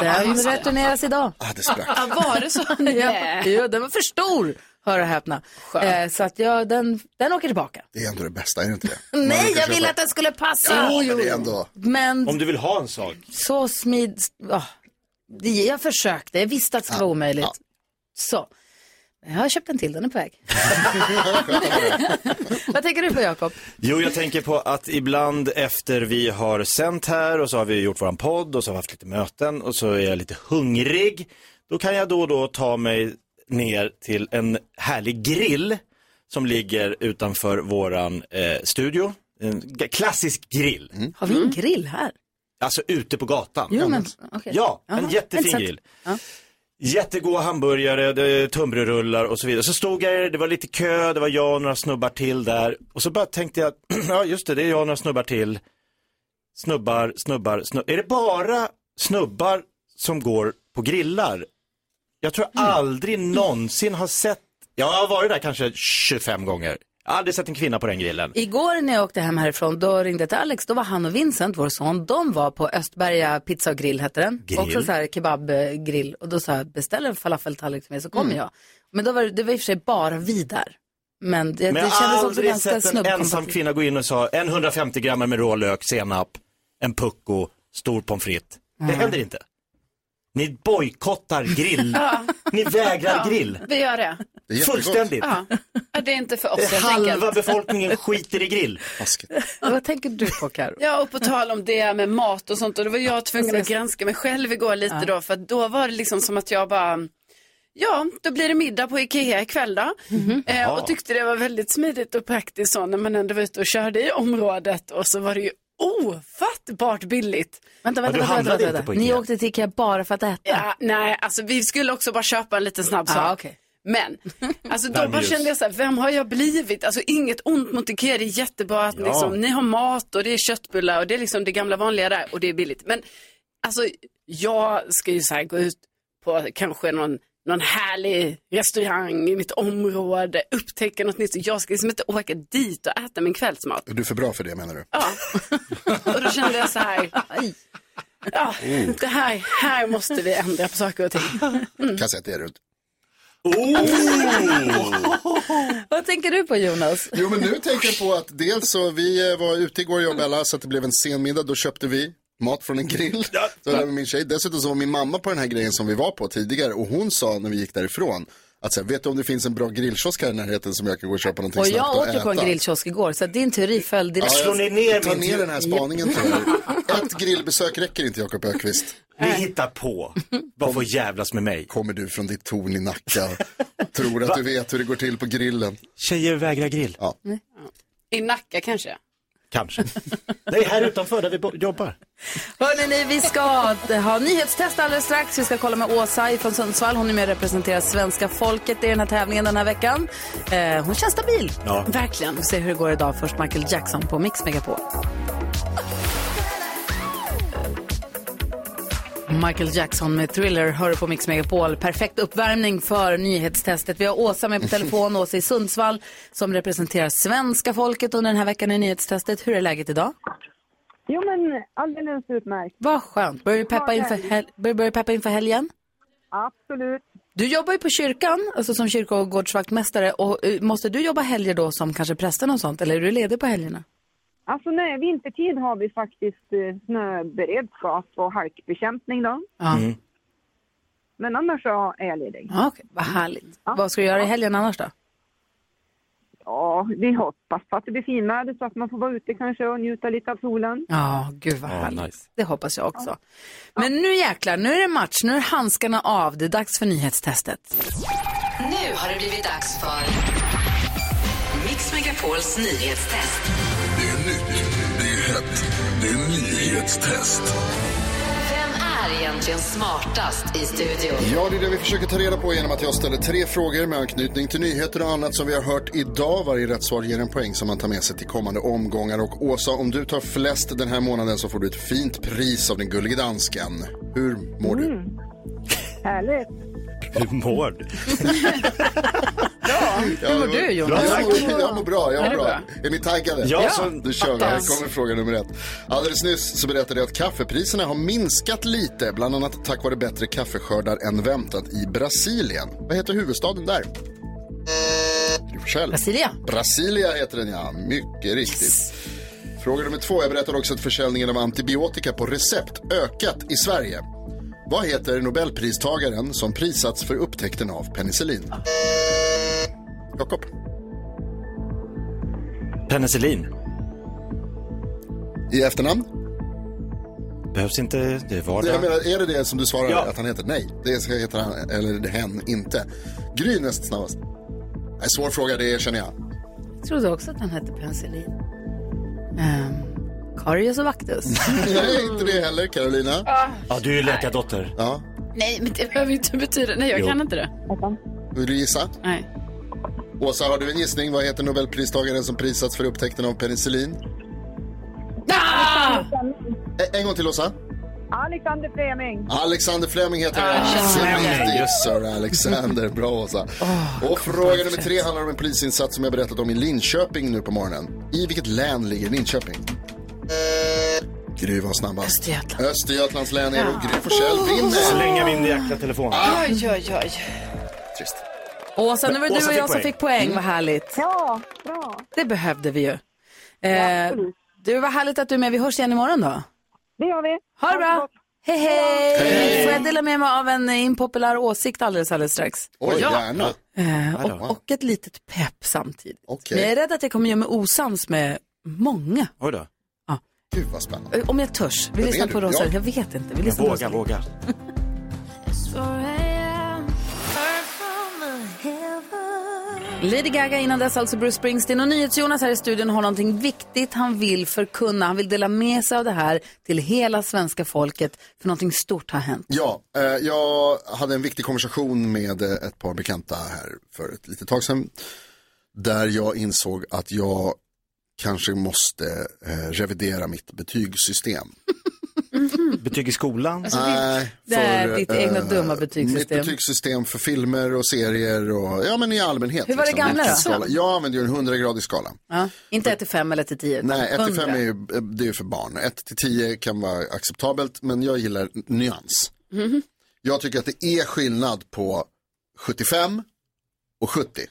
C: Den returneras idag.
G: Ah, det sprack.
C: Ja, var det så? ja. ja, den var för stor, hör och häpna. Eh, så att jag, den, den åker tillbaka.
G: Det är ändå det bästa, är det inte det? Man
C: Nej,
G: brukar
C: jag ville
G: köpa-
C: att den skulle passa.
G: Ja, men det är ändå...
C: Men
H: Om du vill ha en sak.
C: så smid... ah, det, jag försökte, jag visste att det skulle vara omöjligt. Så. Jag har köpt en till, den är på väg. Vad tänker du på Jakob?
H: Jo, jag tänker på att ibland efter vi har sänt här och så har vi gjort våran podd och så har vi haft lite möten och så är jag lite hungrig. Då kan jag då och då ta mig ner till en härlig grill som ligger utanför våran eh, studio. En g- klassisk grill.
C: Har vi en grill här?
H: Alltså ute på gatan.
C: Jo, men, okej.
H: Mm. Ja, en
C: Jaha,
H: jättefin
C: inte så-
H: grill.
C: Ja.
H: Jättegoda hamburgare, det är tunnbrödsrullar och så vidare. Så stod jag där, det var lite kö, det var jag och några snubbar till där. Och så bara tänkte jag, ja just det, det är jag och några snubbar till. Snubbar, snubbar, snubbar. Är det bara snubbar som går på grillar? Jag tror
C: Mm.
H: jag aldrig någonsin har sett, jag har varit där kanske 25 gånger. Jag har aldrig sett en kvinna på den grillen.
C: Igår när jag åkte hem härifrån, då ringde jag till Alex. Då var han och Vincent, vår son, de var på Östberga Pizza och Grill, hette den.
B: Grill.
C: Också så här kebabgrill. Och då sa jag, beställ en falafeltallrik till mig så kommer
B: Mm.
C: jag. Men då var det, det var i och för sig bara vi där. Men det,
H: Men
C: det
H: jag har
C: kändes också
H: aldrig
C: ganska
H: sett en ensam
C: snubbkompatibelt.
H: kvinna gå in och sa en 150 gram med rå lök, senap, en pucko, stor pommes frites. Det
C: Mm.
H: händer inte. Ni bojkottar grill.
I: Ja.
H: Ni vägrar
I: Ja,
H: grill.
I: Vi gör det.
H: Det är jättegott. Fullständigt.
I: Ja. Ja, Det är inte för oss helt
H: Halva
I: enkelt.
H: befolkningen skiter i grill.
C: Vad tänker du på Karo?
I: Ja, och på tal om det med mat och sånt, och då var jag tvungen att granska mig själv igår lite
C: Ja.
I: då, för att då var det liksom som att jag bara, ja, då blir det middag på Ikea ikväll då. Eh,
B: Jaha.
I: och tyckte det var väldigt smidigt och praktiskt så när man ändå var ute och körde i området och så var det ju ofattbart billigt.
C: Vänta, vänta, vänta, vänta, vänta, vänta. Ni åkte till Ikea bara för att äta?
I: Ja, nej, alltså vi skulle också bara köpa en liten snabb sak.
C: Ah, okej.
I: Men, alltså då bara
C: Värmeljus.
I: kände jag så här, vem har jag blivit? Alltså inget ont mot Ikea, det är jättebra att
C: Ja.
I: liksom, ni har mat och det är köttbullar och det är liksom det gamla vanliga där och det är billigt. Men alltså, jag ska ju så här gå ut på kanske någon, någon härlig restaurang i mitt område, upptäcker något nytt. Så Jag ska liksom inte åka dit och äta min kvällsmat.
G: Du är för bra för det menar du?
I: Och då kände jag så här, ja,
G: Mm.
I: det här, här måste vi ändra på saker och ting.
C: Mm.
G: Kan säga att det är du inte.
A: Vad tänker du på Jonas?
G: Jo men nu tänker jag på att dels så vi eh, var ute igår jag och Bella så att det blev en sen middag. Då köpte vi mat från en grill. Så det var med min tjej. Dessutom så var min mamma på den här grejen som vi var på tidigare och hon sa när vi gick därifrån att så här, vet du om det finns en bra grillkiosk här i närheten som jag kan gå och köpa någonting
C: Och
G: snabbt
C: jag
G: och
C: åt ju på en
G: äta?"
C: grillkiosk igår, så att din teori föll direkt.
G: Ja, jag tar ner den här spaningen tyvärr. Ett grillbesök räcker inte Jakob Ökvist. Ni hittar på. Vad får jävlas med mig? Kommer du från ditt torn i Nacka och tror att du vet hur det går till på grillen? Tjejer vägrar grill. Ja,
I: I Nacka kanske.
G: kanske.
H: Nej, här utanför där vi bo- jobbar.
C: Hörrni, ni, vi ska ha nyhetstest alldeles strax. Vi ska kolla med Åsa från Sundsvall. Hon är med och representerar svenska folket i den här tävlingen den här veckan. Eh, hon känns stabil.
H: Ja.
C: Verkligen. Vi får se hur det går idag. Först Michael Jackson på Mix Megapol. Michael Jackson med Thriller hör du på Mix Megapol. Perfekt uppvärmning för nyhetstestet. Vi har Åsa med på telefon, Åsa i Sundsvall, som representerar svenska folket under den här veckan i nyhetstestet. Hur är läget idag?
S: Jo, men alldeles utmärkt.
C: Vad skönt. Börjar du peppa inför, hel- börjar börjar du peppa inför helgen?
S: Absolut.
C: Du jobbar ju på kyrkan, alltså som kyrkogårdsvaktmästare. Och, eh, måste du jobba helger då som kanske prästen och sånt? Eller är du ledig på helgerna?
S: Alltså nej, vintertid har vi faktiskt eh, snöberedskap och halkbekämpning då.
C: Ja.
S: Men annars så är jag ledig.
C: Ja, okej. Vad härligt. Vad ska du göra i helgen annars då?
S: Ja, vi hoppas på att det blir finväder så att man får vara ute kanske och njuta lite av solen.
C: Ja, gud vad härligt. Det hoppas jag också. Men nu jäklar, nu är det match. Nu är handskarna av. Det är dags för nyhetstestet.
B: Nu har det blivit dags för Mix Megapols nyhetstest.
T: Det är nytt, det är hett, det är nyhetstest.
B: Vem är egentligen smartast i studion?
G: Ja, det är det vi försöker ta reda på genom att jag ställer tre frågor med anknytning till nyheter och annat som vi har hört idag. Varje rätt svar ger en poäng som man tar med sig till kommande omgångar. Och Åsa, om du tar flest den här månaden så får du ett fint pris av den gullige dansken. Hur mår du?
S: Härligt.
G: Hur mår du? ja,
S: hur mår du, Jonas?
G: Jag
S: Bra.
G: mår, jag mår bra, jag
S: Är
G: mår
S: det
G: bra.
S: bra?
G: Är ni taggade?
S: Ja, Ja.
G: Då kör vi. Här
S: Attans.
G: kommer fråga nummer ett. Alldeles nyss så berättade jag att kaffepriserna har minskat lite, bland annat tack vare bättre kaffeskördar än väntat i Brasilien. Vad heter huvudstaden där? Gry Forssell.
C: Brasilia.
G: Brasilia heter den, ja. Mycket riktigt. Fråga nummer två. Jag berättade också att försäljningen av antibiotika på recept ökat i Sverige. Vad heter Nobelpristagaren som prisats för upptäckten av penicillin? Jakob.
H: Penicillin.
G: I efternamn?
H: Behövs inte, det är vardag.
G: Jag menar, är det det som du svarar?
H: Ja.
G: Att han heter nej? Det ska heter han, eller hen, inte. Gry näst snabbast. Nej, svår fråga, det känner jag.
C: Jag trodde också att han hette penicillin.
I: Ehm,
C: Um, Karius och Vaktus.
G: Nej, inte det heller. Carolina?
I: Ah.
G: Ja, du är ju läkardotter. Ja.
I: Nej, men det behöver ju inte betyda, nej jag
G: Jo.
I: kan inte det.
G: Vill du gissa?
I: Nej.
G: Åsa, har du en gissning? Vad heter Nobelpristagaren som prisats för upptäckten av penicillin? E- en gång till, Åsa.
S: Ah! Alexander Fleming.
G: Alexander Fleming heter
S: Ah,
G: han.
S: känns som
G: Helt
S: jag Ah,
G: riktigt,
S: vet.
G: Sir Alexander. Bra, Åsa. Och fråga nummer tre handlar om en polisinsats som jag berättat om i Linköping nu på morgonen. I vilket län ligger Linköping? Gry var snabbast. Östergötland. Östergötlands län är det och Gry Forssell vinner.
S: Oh.
H: Slänga min jäkla telefon.
G: Ah!
I: Oj, oj, oj.
G: Trist.
C: Åsa, nu var det
H: Åsa
C: du och
H: fick
C: jag som
H: poäng.
C: fick poäng.
H: Mm.
C: Vad härligt.
S: Ja, bra.
C: Det behövde vi ju. Eh, du, vad härligt att du är med. Vi hörs igen imorgon då.
S: Det gör vi.
C: Ha det bra. Hej, hej! Får jag dela med mig av en eh, impopulär åsikt alldeles, alldeles strax?
G: Oj,
C: Ja.
G: gärna.
C: Eh, och, och ett litet pepp samtidigt.
G: Okej.
C: Men jag är rädd att jag kommer göra mig osams med många.
H: Oj då.
C: Ja.
G: Gud vad spännande.
C: Eh, Om jag törs. Vi
H: Vem
C: lyssnar
H: är
C: på
H: du?
C: Rosa.
H: Jag?
C: Jag vet inte. Vi
H: Men
C: lyssnar
H: våga,
C: på Rosa.
H: våga.
C: Lady Gaga innan dess, alltså Bruce Springsteen. Och NyhetsJonas här i studion har någonting viktigt han vill förkunna. Han vill dela med sig av det här till hela svenska folket. För någonting stort har hänt.
G: Ja, eh, jag hade en viktig konversation med eh, ett par bekanta här för ett litet tag sedan. Där jag insåg att jag kanske måste eh, revidera mitt betygssystem.
H: Betyg i skolan?
C: Alltså, ditt- det är ditt egna dumma betygssystem.
G: eh, Mitt betygssystem för filmer och serier och ja, men i allmänhet.
C: Hur var det gamla
G: Vilken
C: då?
G: skala. Jag använder ju en 100-gradig skala.
C: Ja. Inte 1 till 5 eller till 10.
G: Nej, 1 till 5 är ju, det är ju för barn. 1 till 10 kan vara acceptabelt, men jag gillar nyans.
C: Mhm.
G: Jag tycker att det är skillnad på 75 och 70.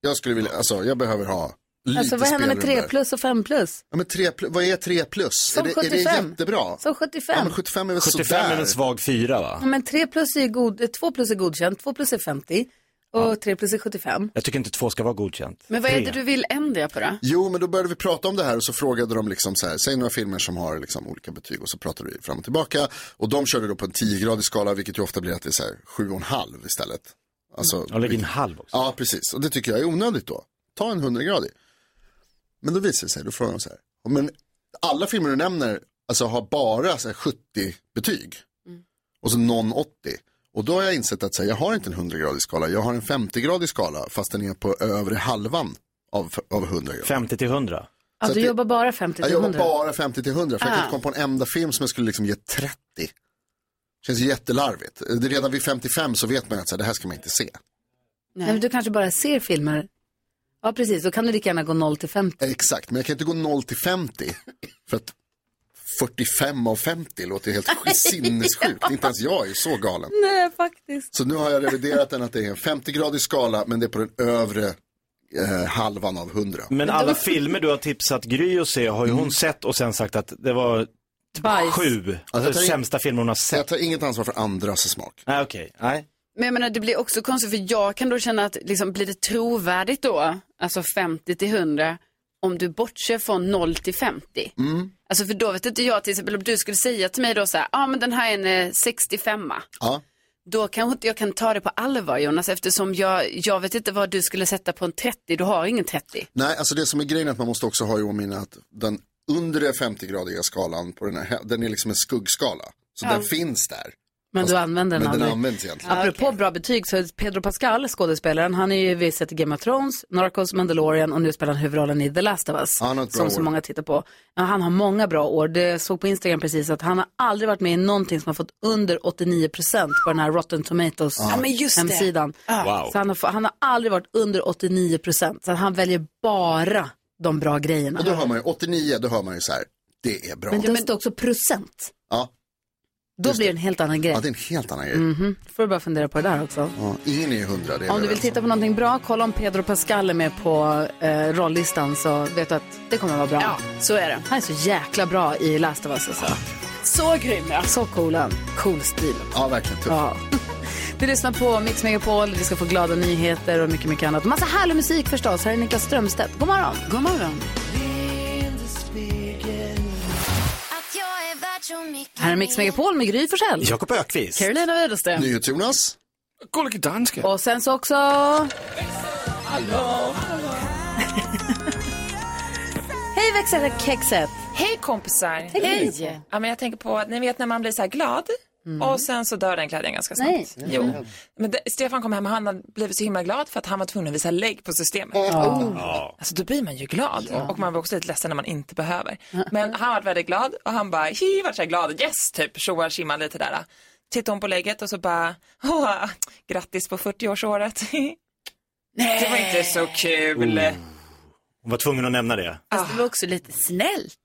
G: Jag skulle vilja, alltså jag behöver ha lite
C: Alltså vad händer med
G: spelrum
C: 3
G: där.
C: plus och 5 plus?
G: Ja, men 3 plus? Vad är 3 plus?
C: Som
G: är, det, är det
C: 75.
G: jättebra?
C: Så 75.
G: Ja, men 75 är väl
H: 75
G: sådär.
H: är en svag fyra va?
C: Ja, men 3 plus är god, 2 plus är godkänt, 2 plus är 50 och 3 plus är 75.
H: Jag tycker inte två ska vara godkänt.
I: Men vad är
G: Tre.
I: det du vill ändra på då?
G: Jo, men då började vi prata om det här och så frågade de liksom så här, säg några filmer som har liksom olika betyg och så pratade vi fram och tillbaka. Och de körde då på en 10-gradig skala, vilket ju ofta blir att det är så här 7,5 istället. Alltså,
H: Jag lägger in halv också.
G: Ja, precis. Och det tycker jag är onödigt då. Ta en 100-gradig. Men då visar det sig, då frågar de så här, men alla filmer du nämner alltså, har bara så här, 70 betyg. Och så någon 80. Och då har jag insett att så här, jag har inte en 100-gradig skala, jag har en 50-gradig skala fast den är på övre halvan av, av 100 grader.
H: 50 till 100?
C: Ja, du jobbar bara 50
G: Jag
C: till
G: jobbar
C: 100.
G: bara 50 till 100 för jag kan
C: Ah.
G: inte komma på en enda film som jag skulle liksom ge 30. Känns ju jättelarvigt. Det är redan vid 55 så vet man att så här, det här ska man inte se.
C: Nej. men du kanske bara ser filmer. Ja, precis. Då kan du lika gärna gå 0 till 50.
G: Exakt, men jag kan inte gå 0 till 50. För att 45 av 50 låter ju helt sk- sinnessjukt. Inte ens jag är ju så galen.
C: Nej, faktiskt.
G: Så nu har jag reviderat den att det är en 50-gradig skala men det är på den övre eh, halvan av 100.
H: Men alla filmer du har tipsat Gry att se har ju hon sett och sen sagt att det var
I: Bajs.
H: sju
G: Alltså, jag tar in-
H: sämsta filmer hon har sett. Jag
G: tar inget ansvar för andras smak.
H: Nej, okej. Nej.
I: Men jag menar, det blir också konstigt för jag kan då känna att liksom, blir det trovärdigt då, alltså 50 till 100, om du bortser från 0 till 50?
G: Mm.
I: Alltså för då vet inte jag till exempel om du skulle säga till mig då så här, ja ah, men den här är en eh, 65
G: Ja.
I: Då kanske inte jag kan ta det på allvar Jonas eftersom jag, jag vet inte vad du skulle sätta på en 30, du har ingen 30.
G: Nej, alltså det som är grejen är att man måste också ha i åminne att den undre 50-gradiga skalan på den här, den är liksom en skuggskala. Så
C: Ja.
G: den finns där.
C: Men du använder den
G: men den
C: aldrig.
G: används egentligen.
C: Apropå bra betyg så är Pedro Pascal, skådespelaren, han är ju vi sett i Game of Thrones, Narcos, Mandalorian och nu spelar han huvudrollen i The Last of Us.
G: Han har ett bra
C: som så
G: år.
C: många tittar på. Ja, han har många bra år. Det jag såg på Instagram precis att han har aldrig varit med i någonting som har fått under 89 procent på den här Rotten Tomatoes
I: Ja, men just det.
C: hemsidan.
I: Ja. Wow.
C: Så han har, få- han har aldrig varit under 89 procent. Så att han väljer bara de bra grejerna.
G: Och då hör man ju, 89, då hör man ju så här, det är bra.
C: Men det står också procent.
G: Ja,
C: Då blir det en helt annan grej.
G: ja, det är en helt annan grej.
C: Mhm. Får du bara fundera på det där också.
G: Ja, ingen är ju hundra, det är
C: Om du
G: vi
C: vill
G: överens om.
C: titta på någonting bra, kolla om Pedro Pascal är med på eh, rollistan så vet du att det kommer vara bra. Ja,
I: så är det.
C: Han är så jäkla bra i Last of Us alltså.
I: Så grym ja.
C: Så cool han. Cool stil.
G: Ja, verkligen. Tuff.
C: Ja. Du lyssnar på Mix Megapol, vi ska få glada nyheter och mycket, mycket annat. Massa härlig musik förstås. Här är Niklas Strömstedt. God morgon.
I: God morgon.
C: Här är Mix Megapol med Gry Forssell.
H: Jakob Ökvist.
C: Carolina Widerström.
G: Jonas.
E: Gullige danske.
C: Och sen så också...
E: Hallå.
C: Hej växelkexet!
U: Hej kompisar!
C: Hej.
U: Ja, men jag tänker på, ni vet när man blir så här glad och sen så dör den glädjen ganska snabbt.
C: Nej.
U: Jo. Men det, Stefan kom hem och han hade blivit så himla glad för att han var tvungen att visa lägg på systemet.
V: Ja.
U: Alltså då blir man ju glad och man blir också lite ledsen när man inte behöver. Men han var väldigt glad och han bara, hi, vart så här glad, yes, typ, tjoar tjimman lite där. Tittade hon på lägget och så bara, åh, grattis på 40-årsåret. Det var inte så kul.
H: Hon var tvungen att nämna det.
I: Fast det var också lite snällt.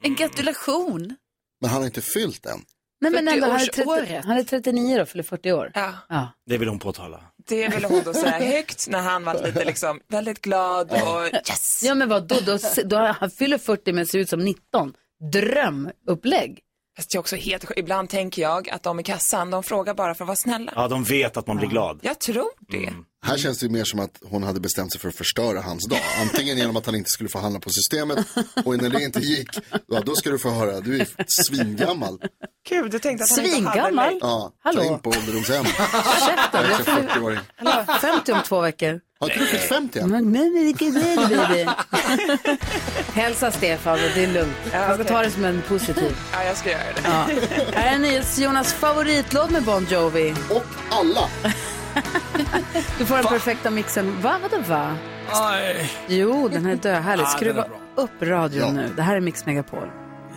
I: En gratulation.
G: Men han har inte fyllt än.
C: Nej men ändå, han är, 30,
U: 40-årsåret.
C: han är 39 då, fyller 40 år.
U: Ja.
H: Det vill hon påtala.
U: Det ville hon då säga högt när han var lite liksom väldigt glad och yes.
C: Ja men vad då, då, då han fyller 40 men ser ut som 19. Drömupplägg.
U: Fast det är också helt sjukt. Ibland tänker jag att de i kassan, de frågar bara för att vara snälla.
H: Ja, de vet att man blir glad.
U: Jag tror det.
G: Här
C: Mm.
G: känns det ju mer som att hon hade bestämt sig för att förstöra hans dag. Antingen genom att han inte skulle få handla på systemet och när det inte gick, ja, då ska du få höra, du är svingammal.
U: Gud, du tänkte att han inte hade
C: Svingammal.
U: mig.
G: Ja,
C: Hallå.
G: ta in på ålderdomshem.
C: Ursäkta,
G: Jag är
C: jag
G: så
C: fyller
G: 40-åring.
C: Hallå, 50 om två veckor.
G: Har inte du fyllt 50 än?
C: Men, men vilken väl baby. Hälsa Stefan, det är lugnt. Jag ska
U: okej.
C: ta det som en positiv.
U: Ja, jag ska göra det.
C: Ja. Här är Nils Jonas favoritlåt med Bon Jovi.
G: Och alla.
C: Du får den perfekta mixen. Va? Vadå va?
E: Ej.
C: Jo, den här är döhärlig.
E: Ah, den är
C: Skruva
E: bra.
C: upp radion
E: Ja.
C: nu. Det här är Mix Megapol.